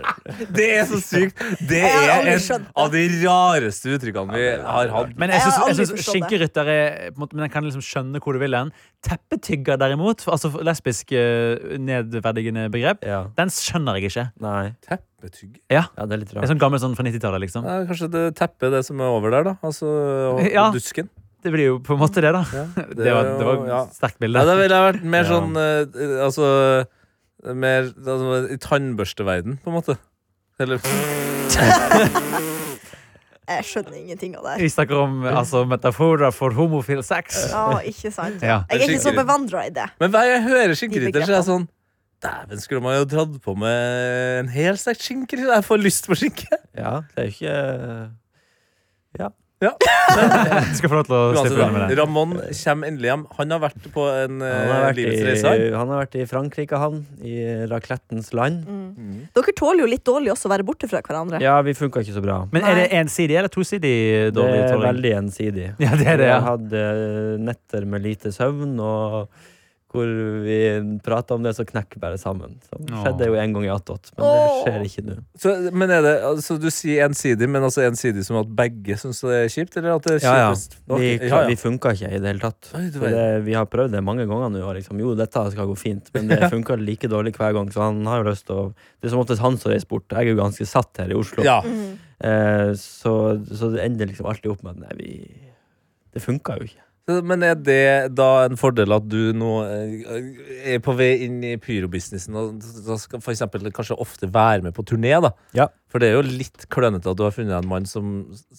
Speaker 2: Det er så sykt. Det
Speaker 3: Jeg har
Speaker 2: er
Speaker 3: aldri
Speaker 2: et
Speaker 3: skjønt det.
Speaker 2: av de rareste uttrykkene vi har hatt.
Speaker 5: Men jeg
Speaker 3: Jeg har
Speaker 5: syns- jeg
Speaker 3: aldri
Speaker 5: syns
Speaker 3: forstått det.
Speaker 5: skinkerytter er på en måte, Men jeg kan liksom skjønne hvor du vil hen. Teppetygger, derimot, for- altså for lesbisk eh, nedverdigende begrep,
Speaker 4: Ja.
Speaker 5: den skjønner jeg ikke.
Speaker 4: Nei.
Speaker 2: Teppetygg?
Speaker 4: Ja, det er litt
Speaker 5: Det er
Speaker 4: rart.
Speaker 5: sånn gammel sånn fra 90-tallet, liksom.
Speaker 2: Ja, kanskje det teppet det som er over der, da. Altså og,
Speaker 5: Ja.
Speaker 2: og dusken.
Speaker 5: Det blir jo på en måte det, da.
Speaker 2: Ja,
Speaker 5: Det, var, det var
Speaker 2: ja.
Speaker 5: et sterkt bilde.
Speaker 2: Ja, det ville vært mer
Speaker 4: Ja.
Speaker 2: sånn eh, Altså mer altså, i tannbørsteverden, på en måte. Eller
Speaker 3: Jeg skjønner ingenting av det her.
Speaker 5: Vi snakker om eh, altså, metaforer for homofil sex.
Speaker 3: Ja, ikke sant.
Speaker 5: Ja.
Speaker 3: Jeg er ikke så bevandra i det.
Speaker 2: Men hver gang jeg hører skinkerytter, så er jeg
Speaker 3: De
Speaker 2: sånn Dæven, skulle man jo dratt på med en hel slags skinker? Jeg får lyst på skinke.
Speaker 4: Ja, det er ikke
Speaker 5: Du skal få lov til å
Speaker 2: Uansett,
Speaker 5: slippe
Speaker 2: da,
Speaker 5: unna med det.
Speaker 2: Ramon kommer endelig hjem. Han har vært på en eh,
Speaker 4: han har, vært
Speaker 2: livets
Speaker 4: i,
Speaker 2: reise. han.
Speaker 4: han har vært i Frankrike, han. I raclettens land.
Speaker 3: Dere tåler jo litt dårlig også å være borte fra hverandre.
Speaker 4: Ja, vi funka ikke så bra.
Speaker 5: Men er det ensidig eller tosidig
Speaker 4: Det
Speaker 5: dårlig
Speaker 4: er
Speaker 5: tåling?
Speaker 4: veldig gjensidig.
Speaker 5: Ja, det er det,
Speaker 4: Vi
Speaker 5: ja.
Speaker 4: har hatt eh, netter med lite søvn, og hvor vi prata om det, så knekker bare sammen. Så det
Speaker 5: Åh.
Speaker 4: skjedde jo en gang i Attåt, men det skjer ikke nå.
Speaker 2: Så, men er det, altså, du sier ensidig, men altså ensidig som at begge syns det er kjipt? Eller at det er
Speaker 4: Ja, ja.
Speaker 2: kjipest?
Speaker 4: Vi,
Speaker 2: Ok, ja, ja.
Speaker 4: vi funka ikke i det hele tatt.
Speaker 2: Oi, du
Speaker 4: Så det, vi har prøvd det mange ganger nå. og Liksom, jo, dette skal gå fint, men det funka like dårlig hver gang. Så han har jo lyst til å Det er som oftest han som reiser bort. Jeg er jo ganske satt her i Oslo.
Speaker 2: Ja.
Speaker 3: Mhm.
Speaker 4: Eh, så, så det ender liksom alltid opp med at nei, vi Det funka jo ikke.
Speaker 2: Så- Men er det da en fordel at du nå eh, er på vei inn i pyrobusinessen og da skal for eksempel kanskje ofte være med på turné, da?
Speaker 4: Ja.
Speaker 2: For det er jo litt klønete at du har funnet deg en mann som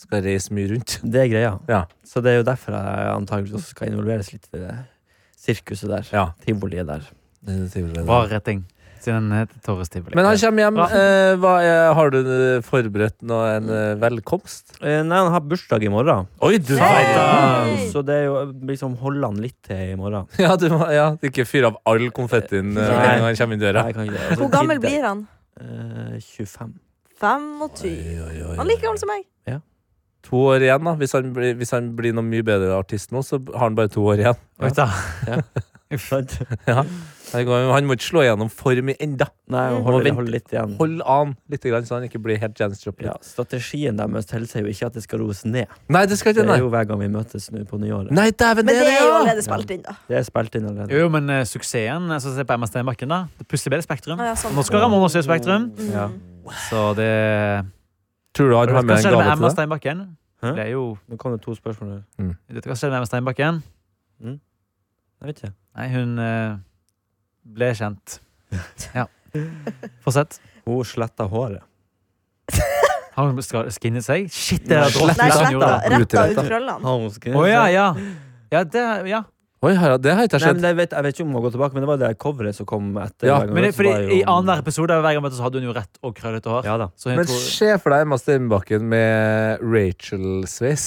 Speaker 2: skal reise mye rundt.
Speaker 4: Det er greia.
Speaker 2: Ja.
Speaker 4: Så det er jo derfor jeg antakeligvis også skal involveres litt i det sirkuset der.
Speaker 2: Ja.
Speaker 4: Tivoliet der.
Speaker 5: Bra retting. Siden den heter Torres Tivoli.
Speaker 2: Men han kommer hjem.
Speaker 5: Bra.
Speaker 2: Eh, hva er, har du eh, forberedt noe, en eh, velkomst?
Speaker 4: Eh, nei, han har bursdag i morgen,
Speaker 2: Oi, du
Speaker 3: Hei!
Speaker 4: så det er jo liksom holde han litt til i morgen.
Speaker 2: Ja, du må ja, ikke fyre av all konfettien eh, med
Speaker 4: Nei.
Speaker 2: en gang han kommer inn døra.
Speaker 4: Nei, jeg kan ikke det. Altså,
Speaker 3: Hvor gammel
Speaker 4: gidder-
Speaker 3: blir han?
Speaker 4: Eh, 25.
Speaker 3: 25. Han er like gammel som meg.
Speaker 2: To år igjen, da. Hvis han, blir- hvis han blir noe mye bedre artist nå, så har han bare to år igjen.
Speaker 5: Oi, da.
Speaker 4: Sant?
Speaker 2: Han må ikke slå gjennom for mye enda.
Speaker 4: Nei,
Speaker 2: Mm. Må
Speaker 4: hold,
Speaker 2: vente.
Speaker 4: hold litt igjen.
Speaker 2: Hold an litt, grann, så han ikke blir helt Janis Joplin.
Speaker 4: Ja, strategien deres tilsier jo ikke at det skal roes ned.
Speaker 2: Nei, det skal
Speaker 4: Det
Speaker 2: ikke
Speaker 4: er
Speaker 2: nei.
Speaker 4: jo hver gang vi møtes nå på nyåret.
Speaker 2: Nei, dæven,
Speaker 3: Men det er jo
Speaker 2: ja!
Speaker 3: allerede spilt inn, da.
Speaker 4: Det er spilt inn allerede.
Speaker 5: Jo, jo, men eh, suksessen altså, Se på Emma Stenbakken, da. Det Plutselig ble det Spektrum.
Speaker 3: Ah, ja, sånn.
Speaker 5: Nå skal Ramona se Spektrum.
Speaker 4: Mm. Ja.
Speaker 5: Så det
Speaker 2: Tror du han
Speaker 5: Hva
Speaker 2: har med en
Speaker 5: skjer det
Speaker 2: gave
Speaker 5: med
Speaker 2: til
Speaker 5: Emma
Speaker 2: deg?
Speaker 5: Steinbakken?
Speaker 4: Hæ?
Speaker 5: Det er jo
Speaker 4: Nå kom det to spørsmål her.
Speaker 5: Vet du hva som skjedde med Emma Steinbakken?
Speaker 4: Jeg vet ikke.
Speaker 5: Nei, hun eh, ble kjent. Ja. Fortsett.
Speaker 4: Hun sletta håret.
Speaker 5: Har hun skal- skinnet seg? Shit, det er
Speaker 2: Nei,
Speaker 5: dråpen
Speaker 3: Nei,
Speaker 5: som
Speaker 3: sletta.
Speaker 5: gjorde det.
Speaker 3: Retta ut
Speaker 2: Utretta.
Speaker 3: krøllene.
Speaker 4: Har hun skrevet
Speaker 5: Å ja,
Speaker 4: det?
Speaker 5: ja. Ja, det, ja.
Speaker 2: Oi, har jeg- det har ikke jeg
Speaker 4: Nei, men
Speaker 2: sett.
Speaker 4: jeg, vet, jeg vet ikke om hun må gå tilbake, men det var det coveret som kom etter.
Speaker 2: Ja,
Speaker 4: hver gang
Speaker 5: Men det,
Speaker 4: vi møtes,
Speaker 5: fordi
Speaker 4: var jo-
Speaker 5: I annenhver episode hver gang vi møttes, hadde hun jo rett og krøllete hår.
Speaker 4: Ja da.
Speaker 5: Så jeg
Speaker 2: Men
Speaker 5: tror,
Speaker 2: se for deg Emma Steinbakken med Rachel-sveis.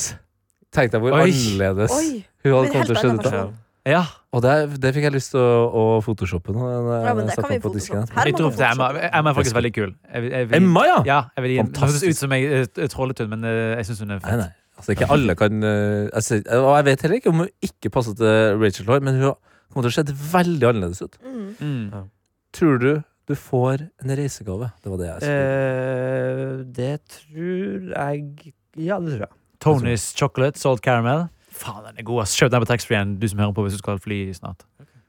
Speaker 2: Tenk deg hvor
Speaker 5: Oi.
Speaker 2: annerledes
Speaker 3: Oi.
Speaker 2: hun hadde
Speaker 3: Men
Speaker 2: kommet til å
Speaker 3: helt
Speaker 2: se
Speaker 3: annen
Speaker 2: ut. da.
Speaker 3: person.
Speaker 5: ja,
Speaker 2: Og det, det fikk jeg lyst til å, å photoshoppe nå. når
Speaker 3: Ja, men
Speaker 2: jeg
Speaker 3: det
Speaker 2: satte
Speaker 3: kan vi
Speaker 2: den på disken
Speaker 3: photoshoppe.
Speaker 2: her.
Speaker 5: jeg
Speaker 3: må
Speaker 5: tror
Speaker 3: vi
Speaker 5: det er Emma.
Speaker 3: fortsette.
Speaker 5: Emma er faktisk veldig kul. Jeg, vil- jeg, vil-
Speaker 2: Emma, ja!
Speaker 5: Ja, jeg vil gi Det høres
Speaker 2: Fantastisk.
Speaker 5: ut som jeg eh, trollet hun, men eh, jeg syns hun er
Speaker 2: Nei,
Speaker 5: fet.
Speaker 2: nei. Altså, ikke alle kan eh, altså, Og jeg vet heller ikke om hun ikke passer til Rachel Hår, men hun kommer til å se veldig annerledes ut.
Speaker 3: Mm.
Speaker 5: Mm.
Speaker 2: Tror du du får en reisegave? Det var det jeg spurte.
Speaker 4: Eh, det tror jeg Ja, det tror jeg.
Speaker 5: Tonys chocolate, salt caramel. Faen, den er god. ass. Kjøp den på taxfree-en, du som hører på, hvis du skal fly snart.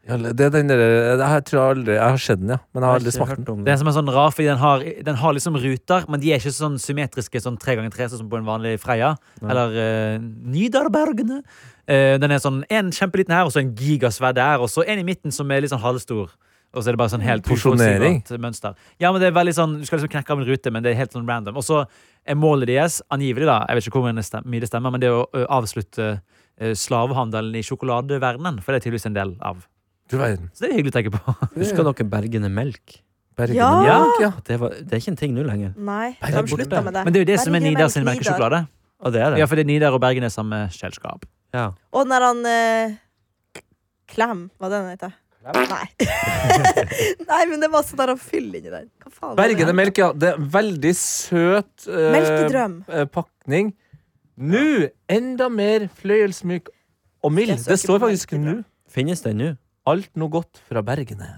Speaker 2: Ja, det er den der, jeg tror jeg aldri Jeg har sett den, ja. Men jeg har aldri
Speaker 4: ikke
Speaker 2: smakt den.
Speaker 4: hørt om
Speaker 5: Den
Speaker 4: det.
Speaker 5: som er sånn rar, fordi den har, den har liksom ruter, men de er ikke sånn symmetriske sånn tre ganger tre, sånn som på en vanlig Freia.
Speaker 4: Nei.
Speaker 5: Eller eh, Nidarbergene. Eh, den er sånn en kjempeliten her, og så en gigasvær der, og så en i midten som er litt sånn halvstor. Og så er det bare sånn helt
Speaker 2: Porsjonering.
Speaker 5: uforutsigbart mønster. Ja, men det er veldig sånn, Du skal liksom knekke av en rute, men det er helt sånn random. Og så er målet deres, angivelig, da, jeg vet ikke hvor mye det stem- mye det stemmer, men det er å ø, avslutte eh, slavehandelen i sjokoladeverdenen. For det er tydeligvis en del av.
Speaker 2: Du verden.
Speaker 5: Så det er hyggelig å tenke på.
Speaker 4: Husker dere Bergene Melk?
Speaker 2: Bergen
Speaker 3: Ja!
Speaker 2: og Mjølk, ja.
Speaker 4: Det, var, det er ikke en ting nå lenger.
Speaker 2: Nei,
Speaker 3: Nei, de
Speaker 2: det er borte.
Speaker 3: slutta med det.
Speaker 5: Men det er jo det som er
Speaker 3: Bergen
Speaker 5: Nidar sin
Speaker 3: Melk, Nidar.
Speaker 5: melkesjokolade.
Speaker 4: Og det er det.
Speaker 5: Ja, fordi Nidar og Bergen er samme selskap.
Speaker 4: Ja.
Speaker 3: Og den der han eh, Klem, hva den heter? Nei. Nei, men det var sånn der han fyller inni den. Hva faen var det?
Speaker 2: Bergen og Melk, ja. Det er veldig søt eh,
Speaker 3: Melkedrøm.
Speaker 2: eh, pakning. Nå enda mer fløyelsmyk og mild.
Speaker 3: Jeg søker
Speaker 2: Det står
Speaker 3: på
Speaker 2: faktisk
Speaker 3: melkedrøm.
Speaker 2: nå.
Speaker 4: Finnes den nå?
Speaker 2: Alt noe godt fra Bergene.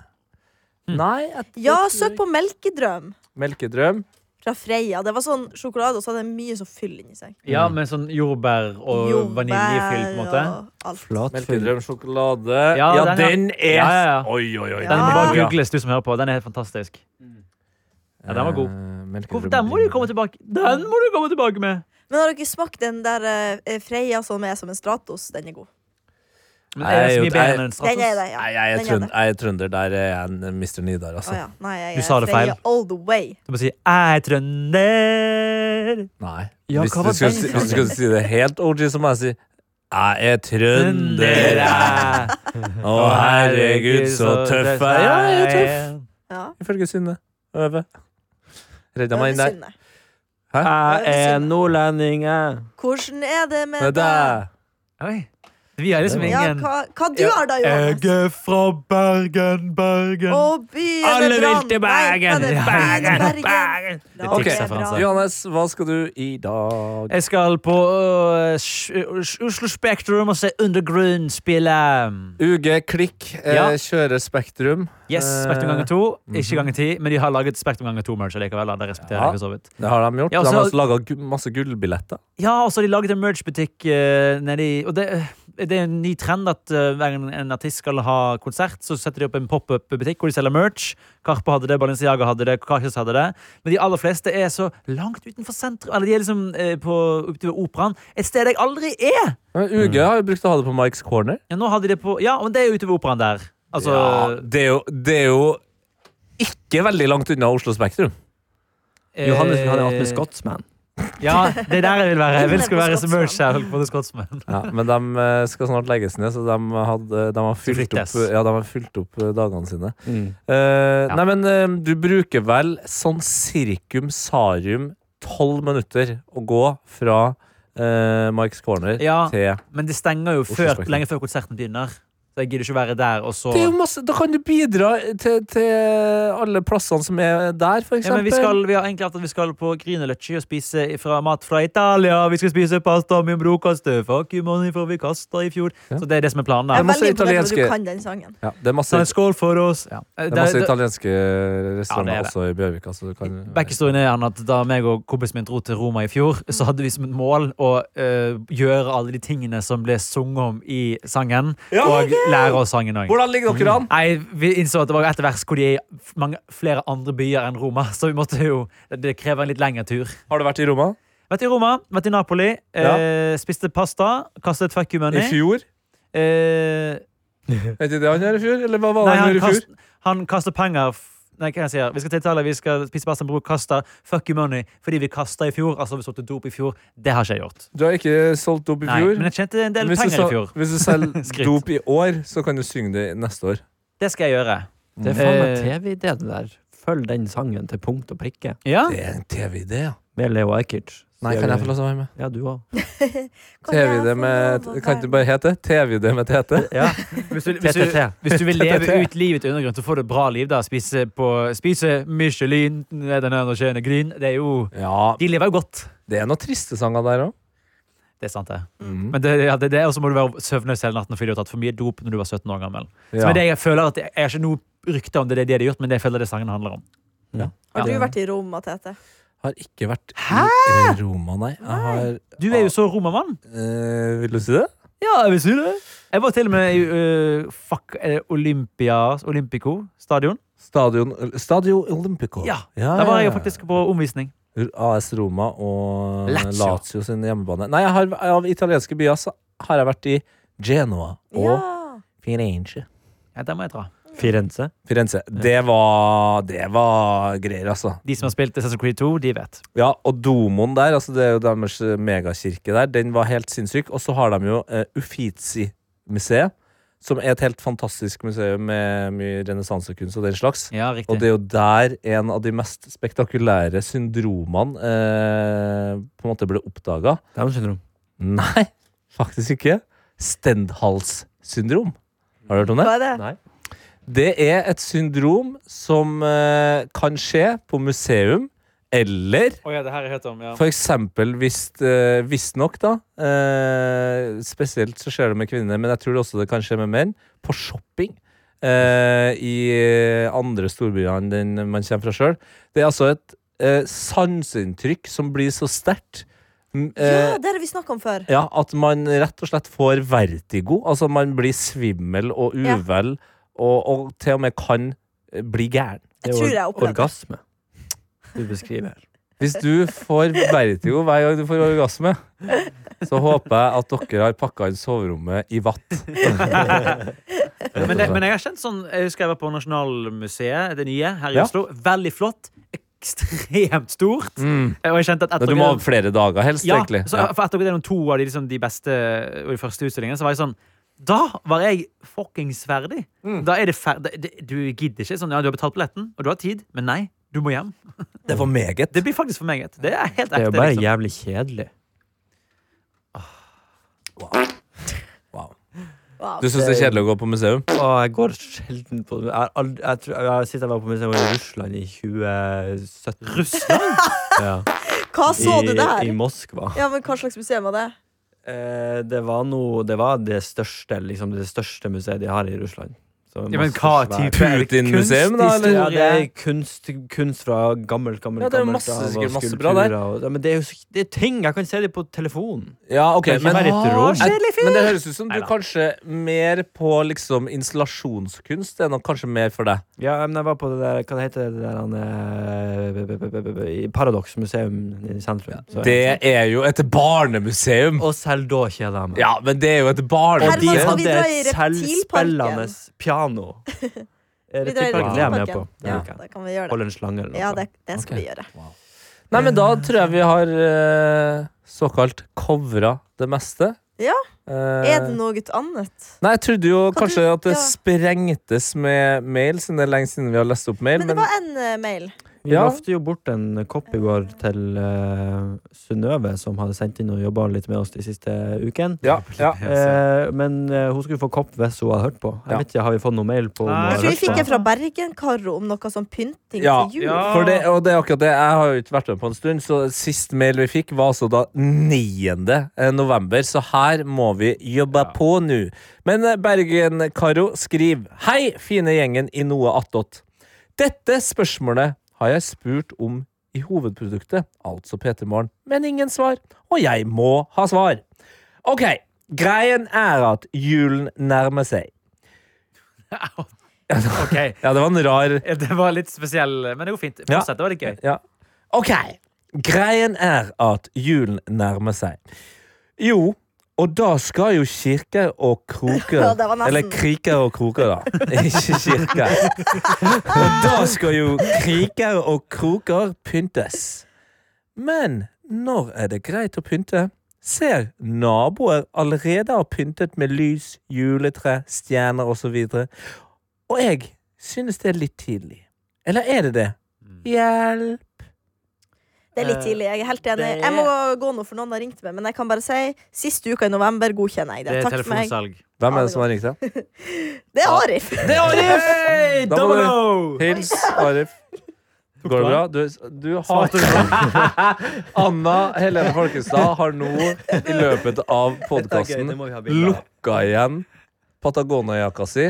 Speaker 5: Hmm.
Speaker 2: Nei, jeg
Speaker 3: Ja,
Speaker 2: tror
Speaker 3: søk på Melkedrøm
Speaker 2: Melkedrøm.
Speaker 3: fra Freia. Det var sånn sjokolade, og så hadde det mye sånn fyll inni seg.
Speaker 5: Ja, med sånn jordbær og
Speaker 3: Jordbær
Speaker 5: vaniljefyll, på en måte.
Speaker 3: og alt.
Speaker 4: Flatfyll.
Speaker 2: Melkedrøm sjokolade. Ja,
Speaker 5: Ja, den, ja.
Speaker 2: den er
Speaker 5: Ja, ja, ja.
Speaker 2: Oi, oi, oi.
Speaker 3: Ja.
Speaker 5: Den må bare
Speaker 2: Ja.
Speaker 5: googles, du som hører på. Den er helt fantastisk. Ja, den var god.
Speaker 2: Eh,
Speaker 5: Hvor,
Speaker 2: melkedrøm
Speaker 5: den må du
Speaker 2: bringebær.
Speaker 5: komme tilbake Den må du komme tilbake med!
Speaker 3: Men har dere smakt den der eh, Freia som er som en Stratos? Den er god.
Speaker 5: Men er det så
Speaker 2: Nei,
Speaker 5: mye bedre
Speaker 2: jeg-
Speaker 5: enn en
Speaker 3: Den er
Speaker 5: Stratos?
Speaker 3: det, ja.
Speaker 2: Nei, jeg er,
Speaker 3: Den
Speaker 2: trønd,
Speaker 3: det.
Speaker 2: jeg er trønder. Der er jeg en Mr. Nidar, altså.
Speaker 3: Å ja. Nei, jeg
Speaker 5: Du
Speaker 3: er
Speaker 5: sa det feil.
Speaker 3: Freia all the way.
Speaker 5: Du må si 'jeg er trønder'.
Speaker 2: Nei.
Speaker 4: Ja,
Speaker 2: hvis,
Speaker 4: hva
Speaker 2: du
Speaker 4: var
Speaker 2: skal,
Speaker 4: den
Speaker 2: si-
Speaker 4: sangen?
Speaker 2: hvis du skal si det helt OG, så må jeg si Jeg er trønder, jeg.
Speaker 5: Trønder.
Speaker 2: Å, herregud, så tøff jeg er. Ja, jeg er tøff.
Speaker 3: Ja.
Speaker 2: Ifølge Synne Øve. Redda
Speaker 3: Den
Speaker 2: meg
Speaker 3: er
Speaker 2: inn der.
Speaker 3: synd, det.
Speaker 4: Jeg er nordlending, jeg.
Speaker 3: Hvordan er det med
Speaker 2: Med deg.
Speaker 5: Oi. Vi er liksom
Speaker 3: Ja,
Speaker 5: ingen
Speaker 3: hva, hva du har da, Johannes?
Speaker 5: er fra Bergen, Bergen.
Speaker 3: Og byen er
Speaker 5: Alle vil
Speaker 3: brann. Nei,
Speaker 5: til
Speaker 3: hva er
Speaker 5: Bergen!
Speaker 3: det?
Speaker 5: Bergen,
Speaker 3: Bergen,
Speaker 5: Bergen!
Speaker 3: Det er
Speaker 2: Ok.
Speaker 5: Tix-referanse.
Speaker 2: Johannes, hva skal du i dag?
Speaker 5: Jeg skal på øh, Sj- Ø- Oslo Spektrum og se Undergrunn spille.
Speaker 2: UG Klikk eh,
Speaker 5: Ja.
Speaker 2: kjører Spektrum.
Speaker 5: Yes,
Speaker 2: Eh, mhm.
Speaker 5: Spektrum ganger to. Ikke ganger ti, men de har laget Spektrum ganger to-merch likevel. da. Det respekterer
Speaker 2: Ja.
Speaker 5: jeg for så vidt.
Speaker 2: Det har de gjort.
Speaker 5: Ja,
Speaker 2: de har
Speaker 5: så-
Speaker 2: også laga masse gullbilletter.
Speaker 5: Ja, og så har de laget en merch-butikk eh, nedi Og det, øh, det er en ny trend at eh, hver gang en artist skal ha konsert, så setter de opp en pop-up-butikk hvor de selger merch. Karpe hadde det, Balenciaga hadde det, Kakis hadde det. Men de aller fleste er så langt utenfor sentrum. Eller de er liksom eh, på, ute ved operaen. Et sted jeg aldri er!
Speaker 2: Men UG har jo brukt å ha det på Mikes Corner.
Speaker 5: Ja, nå hadde de det på Ja, men det er jo ute ved operaen der. Altså
Speaker 2: ja, det, er jo, det er jo ikke veldig langt unna Oslo Spektrum.
Speaker 5: eh,
Speaker 4: Johannes han er attmed Scotsman.
Speaker 5: Ja, det er der jeg vil være. Jeg vil skal være som merch her. På The Scotsman.
Speaker 2: Ja, men de eh, skal snart legges ned, så de, hadde, eh, de, har, fylt opp,
Speaker 5: Flyttes.
Speaker 2: ja, de har fylt opp eh, dagene sine.
Speaker 4: Mm.
Speaker 2: Eh,
Speaker 5: Ja.
Speaker 2: Nei, men eh, du bruker vel sånn sirkum sarium tolv minutter å gå fra eh, Mikes Corner
Speaker 5: Ja,
Speaker 2: til
Speaker 5: men det stenger jo
Speaker 2: Oslo
Speaker 5: før,
Speaker 2: Spektrum.
Speaker 5: lenge før konserten begynner. Så jeg gidder ikke være der, og så
Speaker 2: Det er jo masse, da kan du bidra eh, til, til alle plassene som er der, for
Speaker 5: ja,
Speaker 2: eksempel.
Speaker 5: men vi, skal, vi har egentlig hatt at vi skal på Grünerløkka og spise fra mat fra Italia. Vi skal spise pasta med brokost. Fuck you, money, for vi kasta i fjor.
Speaker 2: Ja.
Speaker 5: Så det er det som er planen.
Speaker 3: Jeg
Speaker 5: da.
Speaker 3: er
Speaker 2: masse
Speaker 3: veldig imponert over at
Speaker 2: italienske-
Speaker 3: du kan den sangen.
Speaker 2: Ja, det er masse,
Speaker 5: Så en skål for oss. Ja.
Speaker 2: Sånn det er masse
Speaker 5: Det- det-
Speaker 2: italienske restauranter
Speaker 5: Ja, det er det.
Speaker 2: også i Bjørvika, så du kan
Speaker 5: Backhistorien er gjerne at da meg og kompisen min dro til Roma i fjor, så hadde vi som et mål å eh, gjøre alle de tingene som ble sunget om i sangen,
Speaker 2: Ja,
Speaker 5: og lære oss sangen òg.
Speaker 2: Hvordan ligger dere an?
Speaker 5: Nei, Vi innså at det var etter vers hvor de er i f- mange, flere andre byer enn Roma, så vi måtte jo Det krever en litt lengre tur.
Speaker 2: Har du vært i Roma?
Speaker 5: Vært i Roma, vært i Napoli,
Speaker 2: Ja.
Speaker 5: eh, spiste pasta, kastet fuck you money.
Speaker 2: I fjor?
Speaker 5: Eh,
Speaker 2: Vet du det han gjør i fjor? Eller hva var det
Speaker 5: nei,
Speaker 2: han
Speaker 5: han,
Speaker 2: gjorde i fjor?
Speaker 5: kast, han kaster penger f- Nei, hva jeg sier Vi skal til Italia, vi skal spise pasta med bror, kaster fuck you money fordi vi kasta i fjor. Altså vi solgte dop i fjor. Det har ikke jeg gjort.
Speaker 2: Du har ikke solgt dop i
Speaker 5: Nei,
Speaker 2: fjor.
Speaker 5: men jeg tjente en del
Speaker 2: Hvis du
Speaker 5: penger
Speaker 2: sa-
Speaker 5: i fjor.
Speaker 2: Hvis du selger
Speaker 5: Skryt.
Speaker 2: dop i år, så kan du synge det neste år.
Speaker 5: Det skal jeg gjøre.
Speaker 4: Det er faen meg
Speaker 5: Eh.
Speaker 4: TV-idé, det der. Følg den sangen til punkt og prikke.
Speaker 5: Ja?
Speaker 2: Det er en TV-idé, ja.
Speaker 4: Med Leo Ajkic.
Speaker 2: Nei,
Speaker 4: Sier
Speaker 2: kan jeg
Speaker 4: vi-
Speaker 2: få lov til å være med?
Speaker 4: Ja, du òg.
Speaker 3: Kan jeg
Speaker 2: TV-idé
Speaker 3: få
Speaker 2: med
Speaker 3: lov å
Speaker 2: Kan
Speaker 3: være
Speaker 2: ikke det bare hete det? TV-idé med Tete?
Speaker 4: Ja.
Speaker 5: Hvis, du, hvis, du,
Speaker 4: TTT.
Speaker 5: hvis du vil leve
Speaker 2: TTT.
Speaker 5: ut livet til undergrunn, så får du et bra liv. da Spise, på, spise Michelin, er den her og tjene gryn. Det er jo
Speaker 2: Ja,
Speaker 5: De lever jo godt.
Speaker 2: det er noen triste sanger der Mm. òg.
Speaker 5: Det er sant, det. Mm. Men det, ja, det, er det og så må du være søvnløs hele natten fordi du har tatt for mye dop når du var 17 år gammel. Så
Speaker 2: Ja.
Speaker 5: det jeg føler at Jeg har ikke noe rykte om det, det de har gjort, men det føler jeg det sangen handler om.
Speaker 3: Har du vært i Roma, Tete?
Speaker 2: Har ikke vært i Roma, nei. Jeg har
Speaker 5: Du er jo så romamann.
Speaker 2: eh, Vil du si det?
Speaker 5: Ja, jeg vil si det. Jeg var til og med i øh, fuck, eh, Olympia, Olympico stadion.
Speaker 2: Stadion Stadio Olympico.
Speaker 5: Ja,
Speaker 2: ja
Speaker 5: Der var jeg jo
Speaker 2: ja.
Speaker 5: faktisk på omvisning.
Speaker 2: AS Roma og
Speaker 4: Lazio.
Speaker 2: Lazio sin hjemmebane. Nei, jeg har, av italienske byer så har jeg vært i Genoa og
Speaker 3: Ja.
Speaker 2: Firenze.
Speaker 5: Ja, Der må jeg dra.
Speaker 4: Firenze.
Speaker 2: Firenze. Det var, det var greier, altså.
Speaker 5: De som har spilt Assassin's Creed 2, de vet.
Speaker 2: Ja, og domoen der, altså det er jo deres megakirke der, den var helt sinnssyk. Og så har de jo eh, Uffizi-museet, som er et helt fantastisk museum med mye renessansekunst og den slags.
Speaker 5: Ja, riktig.
Speaker 2: Og det er jo der en av de mest spektakulære syndromene eh, på en måte ble oppdaga.
Speaker 4: Downs syndrom.
Speaker 2: Nei, faktisk ikke. Stendhalssyndrom. Har du hørt om det?
Speaker 3: Hva er det?
Speaker 4: Nei.
Speaker 2: Det er et syndrom som eh, kan skje på museum eller
Speaker 5: Å ja, det her har jeg hørt om, ja.
Speaker 2: for eksempel hvis eh, Visstnok, da. Eh, spesielt så skjer det med kvinner, men jeg tror også det kan skje med menn. På shopping. Eh, I andre storbyer enn den man kommer fra sjøl. Det er altså et eh, sanseinntrykk som blir så sterkt. mm, eh,
Speaker 3: Ja, det har vi snakka om før.
Speaker 2: ja, at man rett og slett får vertigo. Altså man blir svimmel og
Speaker 3: Ja.
Speaker 2: uvel, og, og til og med kan eh, bli gæren.
Speaker 3: Jeg tror jeg opplevde det.
Speaker 4: Orgasme. Du beskriver her.
Speaker 2: Hvis du får vertigo hver gang du får orgasme, så håper jeg at dere har pakka inn soverommet i vatt.
Speaker 5: Men, det, men jeg har kjent sånn Jeg husker jeg var på Nasjonalmuseet, det nye, her i
Speaker 2: Ja.
Speaker 5: Oslo. Veldig flott. Ekstremt stort.
Speaker 2: Mm.
Speaker 5: Og jeg kjente at
Speaker 2: Men
Speaker 5: etter
Speaker 2: du må ha flere dager, helst,
Speaker 5: ja,
Speaker 2: egentlig.
Speaker 5: så, For etter noen to av de, liksom, de beste og de første utstillingene, så var jeg sånn Da var jeg fuckings ferdig. Da er det fer da- det, du gidder ikke. Sånn, ja, du har betalt billetten, og du har tid, men nei. Du må hjem.
Speaker 2: Det var meget.
Speaker 5: Det blir faktisk for meget. Det er helt ekte.
Speaker 4: Det er jo bare
Speaker 5: liksom.
Speaker 4: jævlig kjedelig.
Speaker 2: Wow.
Speaker 3: Wow.
Speaker 2: Du syns det er kjedelig å gå på museum?
Speaker 4: Å, jeg går sjelden på Jeg, har aldri, jeg, tror, jeg Sist jeg var på museum, var i Russland i 2017.
Speaker 5: Russland?
Speaker 4: Ja.
Speaker 3: Hva så du
Speaker 4: I,
Speaker 3: der?
Speaker 4: I Moskva.
Speaker 3: Ja, men Hva slags museum var det?
Speaker 4: Eh, det var noe Det var det største, liksom, det største museet de har i Russland. Så
Speaker 5: Ja, men
Speaker 4: masse
Speaker 5: hva
Speaker 4: svær-
Speaker 5: type er det
Speaker 2: Putin-museum, da, eller?
Speaker 4: Ja,
Speaker 5: kunsthistorie?
Speaker 4: det er kunst, kunst fra gammelt, gammelt
Speaker 2: Ja, det er jo
Speaker 4: gammelt
Speaker 2: masse-
Speaker 4: av, og
Speaker 2: sikkert masse bra der.
Speaker 4: skulpturer og- ja, men det er jo så- det er ting! Jeg kan se det på telefonen.
Speaker 2: Ja, ok,
Speaker 4: Det er ikke
Speaker 2: men
Speaker 4: bare et rom.
Speaker 2: Jeg- Men det høres ut som du
Speaker 5: Neida.
Speaker 2: kanskje mer på liksom installasjonskunst. Det er nok kanskje mer for deg.
Speaker 4: Ja, men jeg var på det der Hva det heter det der han, eh, b- b- b- b- b- i Paradox museum i sentrum. Så-
Speaker 2: Det er jo et barnemuseum.
Speaker 4: Og selv da kjeder jeg meg.
Speaker 2: Ja, men det er jo et barn.
Speaker 3: Og de-
Speaker 4: De
Speaker 3: Herman, skal vi
Speaker 4: hadde
Speaker 3: dra i
Speaker 4: et selvspillende
Speaker 3: reptilparken?
Speaker 4: piano. Eh,
Speaker 3: Vi drar i
Speaker 4: Reptilparken det er jeg med på.
Speaker 3: reptilparken.
Speaker 4: Det
Speaker 3: Ja,
Speaker 4: liker jeg.
Speaker 3: da kan vi gjøre det.
Speaker 4: Holde en slange eller noe.
Speaker 3: Ja, det, det skal vi gjøre.
Speaker 2: Nei, men da tror jeg vi har eh, såkalt covra det meste.
Speaker 3: Ja.
Speaker 2: Eh,
Speaker 3: Er det noe annet?
Speaker 2: Nei, jeg trodde jo
Speaker 3: Hva
Speaker 2: kanskje
Speaker 3: du-
Speaker 2: at det
Speaker 3: ja.
Speaker 2: sprengtes med mail, siden det er lenge siden vi har lest opp mail.
Speaker 3: Men det var en eh, mail.
Speaker 4: Vi
Speaker 2: Ja.
Speaker 4: lovte jo bort en kopp i går til uh, Synnøve, som hadde sendt inn og jobba litt med oss de siste ukene.
Speaker 2: Ja, ja.
Speaker 4: Eh, men eh, hun skulle få kopp hvis hun hadde hørt på. Jeg
Speaker 2: Ja.
Speaker 4: vet ikke, Har vi fått noe mail på om hun
Speaker 5: Nei.
Speaker 4: har
Speaker 3: Jeg tror vi
Speaker 4: hørt på?
Speaker 3: fikk en fra Bergen, Karo, om noe sånn pynting
Speaker 2: Ja.
Speaker 3: til jul.
Speaker 5: Ja.
Speaker 2: For det, og det er akkurat det. Jeg har jo ikke vært med på en stund, så sist mail vi fikk, var altså da 9. november. Så her må vi jobbe på nå. Men eh, Bergen-Karo skriver Hei, fine gjengen i noe attåt. Dette spørsmålet har jeg spurt om i hovedproduktet, altså P3 Morgen, men ingen svar. Og jeg må ha svar. Ok, greien er at julen nærmer seg.
Speaker 5: OK.
Speaker 2: Ja, det var en rar
Speaker 5: Det var litt spesiell, men det går fint.
Speaker 2: Ja.
Speaker 5: Fortsett, det var litt gøy.
Speaker 2: Ja. Ok, greien er at julen nærmer seg. Jo, og da skal jo kirker og kroker
Speaker 3: Ja, det var nesten.
Speaker 2: Eller kriker og kroker, da. Ikke kirker. Og da skal jo kriker og kroker pyntes. Men når er det greit å pynte? Ser naboer allerede har pyntet med lys, juletre, stjerner osv. Og jeg synes det er litt tidlig. Eller er det det? Hjelp!
Speaker 3: Det er litt tidlig. Jeg er helt enig.
Speaker 4: Det er-
Speaker 3: Jeg må gå nå, for noen har ringt meg. Men jeg kan bare si siste uka i november godkjenner jeg det.
Speaker 5: Det er
Speaker 3: Takk for meg.
Speaker 5: telefonsalg.
Speaker 2: Hvem er det som har ringt deg?
Speaker 3: Det er Arif.
Speaker 2: Det er Arif!
Speaker 5: Hey,
Speaker 2: Da må
Speaker 5: double
Speaker 2: du-
Speaker 5: O!
Speaker 2: Hils Arif. Går det bra? Du, du har Anna Helene Folkestad har nå, i løpet av podkasten,
Speaker 4: må vi ha bilder av.
Speaker 2: lukka igjen Patagonia-jakka si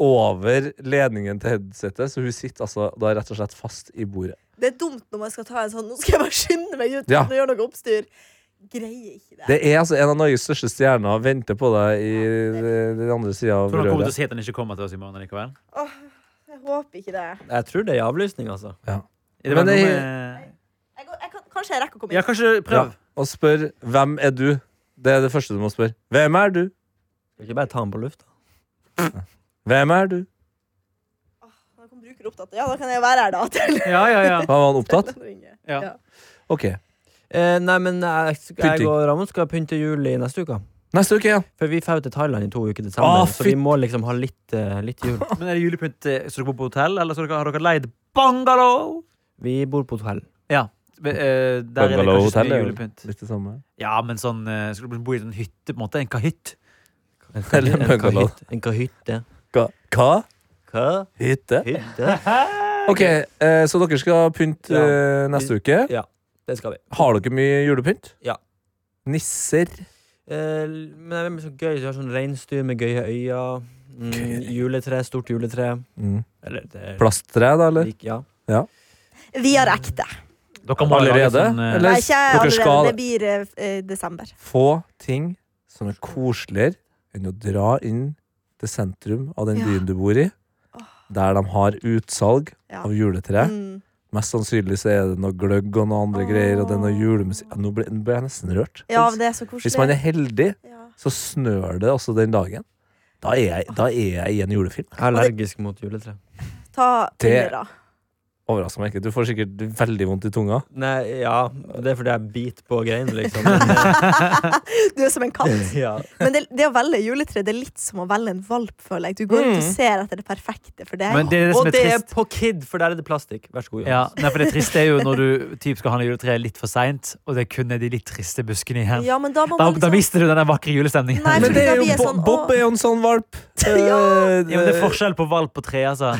Speaker 2: over ledningen til headsetet, så hun sitter altså da rett og slett fast i bordet.
Speaker 3: Det er dumt når man skal ta en sånn Nå skal jeg bare skynde meg ut
Speaker 2: Ja.
Speaker 3: uten å gjøre noe oppstyr. Greier ikke det.
Speaker 2: Det er altså en av Norges største stjerner og venter på deg i eh, den andre sida av
Speaker 5: Tror dere kommer til å
Speaker 2: røret.
Speaker 5: si at den ikke kommer til oss i morgen likevel?
Speaker 3: Jeg håper ikke det.
Speaker 4: Jeg tror det er i avlysning, altså.
Speaker 5: Er det
Speaker 2: Men
Speaker 5: vel noe
Speaker 2: det-
Speaker 5: med...
Speaker 3: Jeg, går- jeg kan, kanskje jeg rekker å komme
Speaker 5: Ja,
Speaker 3: inn.
Speaker 5: kanskje
Speaker 2: Ja.
Speaker 5: prøv.
Speaker 2: Og spør 'Hvem er du?' Det er det første du må spørre. Hvem er du?
Speaker 4: Skal ikke bare ta den på lufta.
Speaker 2: Hvem er du?
Speaker 3: Nå kom bruker opptatt. Ja, da kan jeg være her, da. Til
Speaker 5: Ja, ja, ja.
Speaker 2: Var han opptatt?
Speaker 3: den ringer.
Speaker 5: Ja.
Speaker 2: Ok.
Speaker 4: Eh, nei, men jeg, jeg
Speaker 2: Pynting.
Speaker 4: og Ramon skal pynte jul i neste uke.
Speaker 2: Neste uke, ja.
Speaker 4: For vi drar til Thailand i to uker til sammen,
Speaker 2: Å,
Speaker 4: så
Speaker 2: fy-
Speaker 4: vi må liksom ha litt, eh, litt jul.
Speaker 5: Men er det julepynt eh, Skal dere bo på hotell, eller skal dere, har dere leid bungalow?
Speaker 4: Vi bor på hotell.
Speaker 5: Ja. Be- eh, Der er det
Speaker 2: Bungalow
Speaker 5: kanskje så
Speaker 2: hotell er
Speaker 5: mye
Speaker 2: jo-
Speaker 5: julepynt.
Speaker 2: Litt det samme.
Speaker 5: Ja, men sånn eh, Skal dere bo i en hytte, på en måte? En kahytt?
Speaker 4: En
Speaker 2: Eller
Speaker 4: kahytt- en
Speaker 2: bungalow.
Speaker 4: kahytt- En kahytte.
Speaker 2: Hva? Hva?
Speaker 4: Hva?
Speaker 2: Hytte?
Speaker 4: Hytte?
Speaker 2: Ok, eh, så dere skal pynte eh, neste uke.
Speaker 4: Det skal vi.
Speaker 2: Har dere mye julepynt?
Speaker 4: Ja.
Speaker 2: Nisser?
Speaker 4: Eh, men det er mye så gøy. Vi har sånn reinsdyr med gøye øyne. Mm,
Speaker 2: Gøye øyne.
Speaker 4: juletre. Stort juletre.
Speaker 2: Mm.
Speaker 4: Eller det er
Speaker 2: Plasttre, da, eller?
Speaker 4: lik- Ja.
Speaker 3: Vi har ekte.
Speaker 5: Dere må lage
Speaker 2: Allerede?
Speaker 5: sånn, eh,
Speaker 2: Eller
Speaker 3: Nei, ikke
Speaker 2: dere
Speaker 3: allerede.
Speaker 2: skal-
Speaker 3: Det blir eh, f- eh, desember.
Speaker 2: Få ting som er koseligere enn å dra inn til sentrum av den
Speaker 3: Ja.
Speaker 2: byen du bor i, der de har utsalg
Speaker 3: Ja.
Speaker 2: av juletre.
Speaker 3: Mm.
Speaker 2: Mest sannsynlig så er det noe gløgg og noe andre
Speaker 3: Åh.
Speaker 2: greier, og det er noe julemusikk. Ja, Nå ble, nå ble jeg nesten rørt.
Speaker 3: Ja, men det er så
Speaker 2: Hvis man
Speaker 3: koselig.
Speaker 2: er heldig,
Speaker 3: Ja.
Speaker 2: så snør det også den dagen. Da er jeg, da er jeg i en julefilm.
Speaker 4: Jeg er allergisk mot juletre.
Speaker 3: Ta
Speaker 2: Det-
Speaker 3: piller, da.
Speaker 2: Overrasker meg ikke. Du får sikkert veldig vondt i tunga.
Speaker 4: Nei, ja. Det er fordi jeg biter på greinene, liksom. Men,
Speaker 3: Du er som en katt.
Speaker 4: eh, ja.
Speaker 3: Men det, det å velge juletre Det er litt som å velge en valp, føler jeg. Du går ut og ser etter det perfekte for deg.
Speaker 5: Men det er det som
Speaker 4: Og
Speaker 5: er
Speaker 4: det er
Speaker 5: trist.
Speaker 4: på Kid, for der er det plastikk. Vær så god.
Speaker 5: Ja,
Speaker 4: Johannes.
Speaker 5: nei, for det triste er jo når du typ, skal handle juletre litt for seint, og det kun er de litt triste buskene igjen.
Speaker 3: Ja, men da må
Speaker 5: Da,
Speaker 3: man
Speaker 5: da
Speaker 3: liksom
Speaker 5: mister du den der vakre julestemningen.
Speaker 3: Nei,
Speaker 2: Men
Speaker 5: men
Speaker 3: fordi
Speaker 5: det,
Speaker 2: det
Speaker 3: da
Speaker 2: er jo
Speaker 3: blir jeg
Speaker 2: Bo
Speaker 3: sånn,
Speaker 2: Bob
Speaker 3: «Åh».
Speaker 2: er jo en sånn valp.
Speaker 5: ja, men det er forskjell på valp på tre, altså.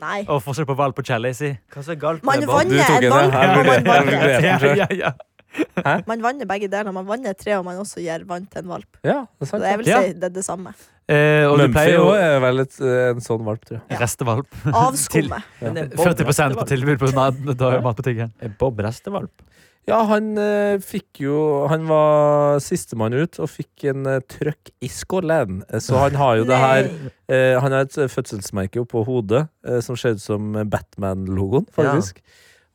Speaker 3: Nei.
Speaker 5: Og forskjell på valp på Chelly, si.
Speaker 4: Hva som er galt
Speaker 3: Man
Speaker 4: med vann?
Speaker 2: Du
Speaker 3: vanner
Speaker 2: tok
Speaker 3: en
Speaker 2: en,
Speaker 3: valp,
Speaker 2: ja. Jeg
Speaker 3: og man
Speaker 2: vurderer- jeg
Speaker 3: vanner
Speaker 2: vurderer.
Speaker 5: Ja,
Speaker 2: den selv.
Speaker 5: ja, ja.
Speaker 3: Man vanner begge deler. Man vanner et tre, og man også gir vann til en valp.
Speaker 2: Ja, det er
Speaker 3: Så
Speaker 2: sant.
Speaker 3: jeg vil
Speaker 5: Ja.
Speaker 3: si det er det samme.
Speaker 5: Eh, og du
Speaker 2: Mumphy
Speaker 5: pleier jo
Speaker 2: også er vel et, eh, en sånn valp, tror jeg.
Speaker 5: restevalp.
Speaker 3: Avskummet.
Speaker 4: Men er Bob
Speaker 5: 40 på
Speaker 4: restevalp?
Speaker 5: tilbud på na- da- matbutikken.
Speaker 4: Er Bob restevalp?
Speaker 2: Ja, han eh, fikk jo Han var sistemann ut og fikk en eh, trøkk i skollen. Eh, Så han har jo det her
Speaker 3: Nei.
Speaker 2: eh, Han har et eh, fødselsmerke oppå hodet eh, som ser ut som eh, Batman-logoen, faktisk.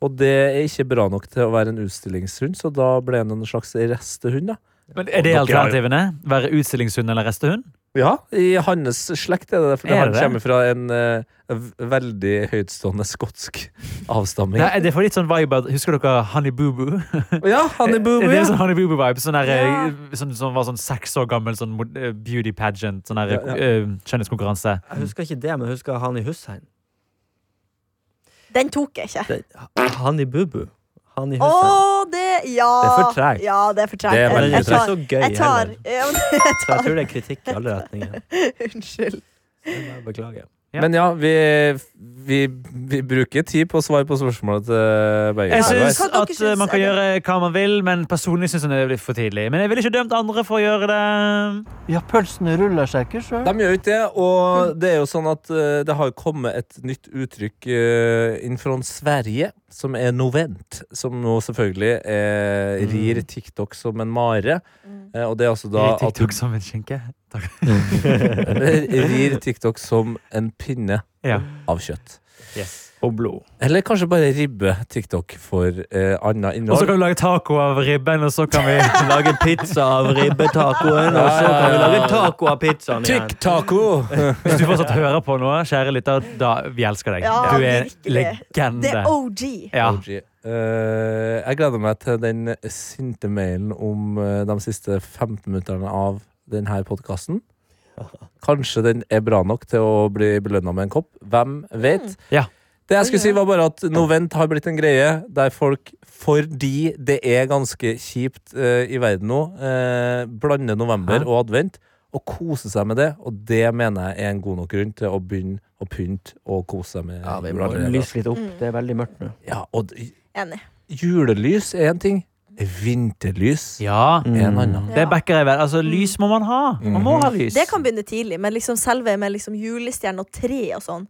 Speaker 2: Og det er ikke bra nok til å være en utstillingshund, så da ble han en slags restehund, da.
Speaker 5: Men er det
Speaker 2: Dere har jo-
Speaker 5: alternativene? Være utstillingshund eller restehund?
Speaker 2: Ja, i hans slekt er det det, for
Speaker 5: Er
Speaker 2: han
Speaker 5: det det?
Speaker 2: kommer fra en eh, v- veldig høytstående skotsk avstamming.
Speaker 5: Nei, det får litt sånn vibe at Husker dere Honey Boo Boo?
Speaker 2: Ja, han er
Speaker 5: Er
Speaker 2: boobo,
Speaker 5: det
Speaker 2: ja.
Speaker 5: sånn Honey Boo Boo vibe? Sånn der,
Speaker 3: Ja.
Speaker 5: eh, sånn, som var sånn seks år gammel sånn mod- eh, beauty pageant, sånn der,
Speaker 2: Ja, ja.
Speaker 5: eh, kjønnhetskonkurranse.
Speaker 4: Jeg husker ikke det, men jeg husker han i Hussein.
Speaker 3: Den tok jeg ikke.
Speaker 4: Det, han i Bubu. Han i
Speaker 3: Å,
Speaker 4: huset.
Speaker 3: det Ja.
Speaker 4: Det er for tregt.
Speaker 3: Ja, det er for tregt.
Speaker 2: Det er
Speaker 3: Jeg-
Speaker 2: veldig
Speaker 4: Men det er
Speaker 3: jeg
Speaker 4: ikke
Speaker 3: tar-
Speaker 4: så gøy
Speaker 3: Jeg tar
Speaker 4: heller.
Speaker 3: ja, men jeg
Speaker 4: Så jeg
Speaker 3: tar
Speaker 4: tror det er kritikk i alle retninger.
Speaker 3: Unnskyld.
Speaker 4: Jeg bare Beklager.
Speaker 5: Ja.
Speaker 2: Men ja, vi, vi, vi bruker tid på å svare på spørsmålet til begge.
Speaker 5: Jeg
Speaker 3: Ja,
Speaker 2: sider.
Speaker 5: syns
Speaker 3: hva dere
Speaker 5: at eh,
Speaker 3: syns,
Speaker 5: man kan
Speaker 3: er
Speaker 5: gjøre hva man vil, men personlig syns jeg det blir for tidlig. Men jeg ville ikke dømt andre for å gjøre det.
Speaker 7: Ja, pølsene ruller seg ikke sjøl.
Speaker 2: De gjør jo ikke det, og det er jo sånn at eh, det har jo kommet et nytt uttrykk uh, innenfra Sverige, som er novent, som nå selvfølgelig
Speaker 5: Mm.
Speaker 2: eh, rir TikTok som en mare. Eh, og det er altså da
Speaker 5: Da,
Speaker 2: at du
Speaker 5: TikTok som en skinke. Takk.
Speaker 2: rir TikTok som en pinne
Speaker 5: Ja.
Speaker 2: av kjøtt.
Speaker 4: Og blod.
Speaker 2: Eller kanskje bare ribbe TikTok for uh, annet
Speaker 5: Og så
Speaker 2: innhold.
Speaker 5: kan vi lage taco av ribben, og så kan vi
Speaker 4: Lage pizza av ribbetacoen, og så kan vi lage taco av pizzaen igjen.
Speaker 2: TikTaco!
Speaker 5: Hvis du fortsatt hører på nå, kjære lytter, da vi elsker deg.
Speaker 3: Ja,
Speaker 5: du er
Speaker 3: virkelig. Det
Speaker 5: legende.
Speaker 3: er OG.
Speaker 5: Ja.
Speaker 2: OG. Eh, jeg gleder meg til den sinte mailen om eh, de siste 15 minutterne av denne podkasten. Kanskje den er bra nok til å bli belønna med en kopp. Hvem vet?
Speaker 5: Ja.
Speaker 2: Det jeg skulle si var bare at Novent har blitt en greie der folk, fordi det er ganske kjipt eh, i verden nå, eh, blander november
Speaker 5: Hæ?
Speaker 2: og advent og koser seg med det. Og det mener jeg er en god nok grunn til å begynne å pynte og kose seg med
Speaker 4: Ja, vi må
Speaker 2: juleallerede.
Speaker 4: lyse litt opp. Det er veldig mørkt nå.
Speaker 2: Ja, og d-
Speaker 3: Enig.
Speaker 2: Julelys er en ting. Vinterlys
Speaker 5: ja.
Speaker 2: er en annen.
Speaker 5: Det backer jeg vel. Altså, lys må man ha. Man må ha lys.
Speaker 3: Mhm. Det kan begynne tidlig, men liksom selve med liksom julestjerne og tre og sånn,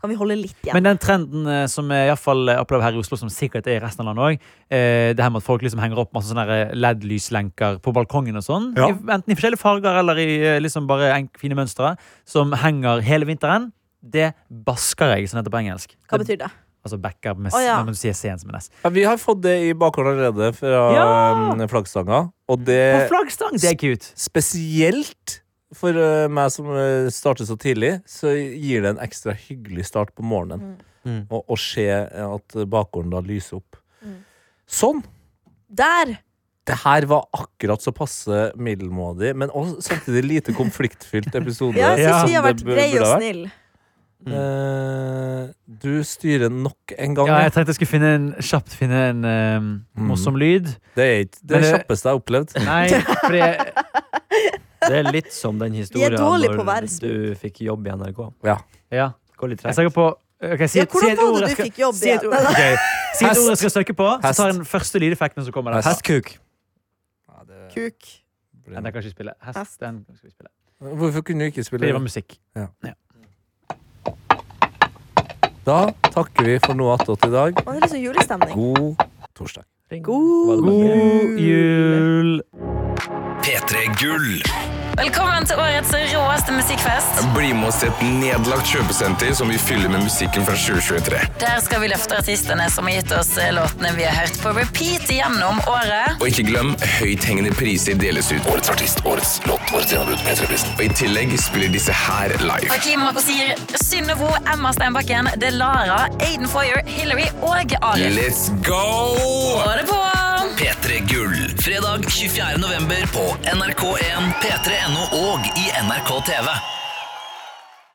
Speaker 3: kan vi holde litt igjen.
Speaker 5: Men den trenden eh, som jeg i hvert fall opplever her i Oslo, som sikkert er i resten av landet òg, eh, det her med at folk liksom henger opp masse sånne her LED-lyslenker på balkongen og sånn,
Speaker 2: Ja.
Speaker 5: i, enten i forskjellige farger eller i eh, liksom bare en, fine mønstre, som henger hele vinteren, det basker jeg, som det heter på engelsk.
Speaker 3: Hva betyr det?
Speaker 5: Altså backer med,
Speaker 3: Å, ja.
Speaker 5: når du sier sen som en S.
Speaker 2: Ja, vi har fått det i bakhånd allerede fra
Speaker 5: Ja!
Speaker 2: um, flaggstanga. Og
Speaker 5: På
Speaker 2: det
Speaker 5: flaggstang! Det er cute.
Speaker 2: spesielt for uh, meg som uh, starter så tidlig, så gir det en ekstra hyggelig start på morgenen.
Speaker 4: Mm.
Speaker 2: Å å se at bakgården da lyser opp. Sånn!
Speaker 3: Der!
Speaker 2: Det her var akkurat så passe middelmådig, men også samtidig lite konfliktfylt episode.
Speaker 3: Ja, jeg
Speaker 5: Ja,
Speaker 3: syns vi har
Speaker 2: det
Speaker 3: vært
Speaker 2: bur-
Speaker 3: greie
Speaker 2: burde
Speaker 3: og
Speaker 2: ha vært.
Speaker 3: snille.
Speaker 4: Mm.
Speaker 2: Eh, du styrer nok en gang.
Speaker 5: Ja,
Speaker 2: ja.
Speaker 5: jeg tenkte jeg skulle finne en, kjapt finne en eh,
Speaker 2: Mm.
Speaker 5: morsom lyd.
Speaker 2: Det er ikke det,
Speaker 5: Men det-
Speaker 2: kjappeste jeg har opplevd.
Speaker 5: Nei, for det
Speaker 4: Det er litt som den historien
Speaker 3: dårlig på å
Speaker 4: når
Speaker 3: være smooth.
Speaker 4: du fikk jobb i NRK.
Speaker 5: Ja.
Speaker 4: Går litt
Speaker 5: Jeg
Speaker 4: tregt.
Speaker 5: søker på Ok, si,
Speaker 3: Ja,
Speaker 5: si
Speaker 3: hvordan
Speaker 5: et
Speaker 3: var
Speaker 5: ord
Speaker 3: det
Speaker 5: jeg
Speaker 3: du
Speaker 5: skal-
Speaker 3: fikk jobb
Speaker 5: Si et
Speaker 3: igjen?
Speaker 5: ord ok. Si et
Speaker 2: Hest.
Speaker 5: ord jeg skal søke på, så
Speaker 2: Hest.
Speaker 5: tar jeg den første lydeffekten som kommer. der.
Speaker 2: Hest.
Speaker 4: Hestkuk.
Speaker 3: Kuk.
Speaker 5: Nei, den kan ikke spille. Hest,
Speaker 3: Hest.
Speaker 5: den skal vi spille.
Speaker 2: Hvorfor kunne du ikke
Speaker 5: Fordi
Speaker 2: spille
Speaker 5: det var musikk.
Speaker 2: Da takker vi for noe attåt i dag.
Speaker 3: Og det er liksom julestemning.
Speaker 2: God torsdag.
Speaker 4: God
Speaker 5: God jul!
Speaker 1: P3 Gull.
Speaker 8: Velkommen til årets råeste musikkfest.
Speaker 9: Bli med oss til et nedlagt kjøpesenter som vi fyller med musikken fra 2023.
Speaker 8: Der skal vi løfte artistene som har gitt oss eh, låtene vi har hørt på repeat gjennom året.
Speaker 9: Og ikke glem, høythengende priser deles ut. Årets artist, årets låt, årets gjennombrudd, P3-prisen. Og i tillegg spiller disse her live.
Speaker 8: Hakim Aposir, Synnøvo, Emma Steinbakken, Delara, Aiden Foyer, Hillary og Arif.
Speaker 9: Let's go!
Speaker 8: Ha det på!
Speaker 1: P3 Gull. Fredag 24. november på NRK1, P3.no og i NRK TV.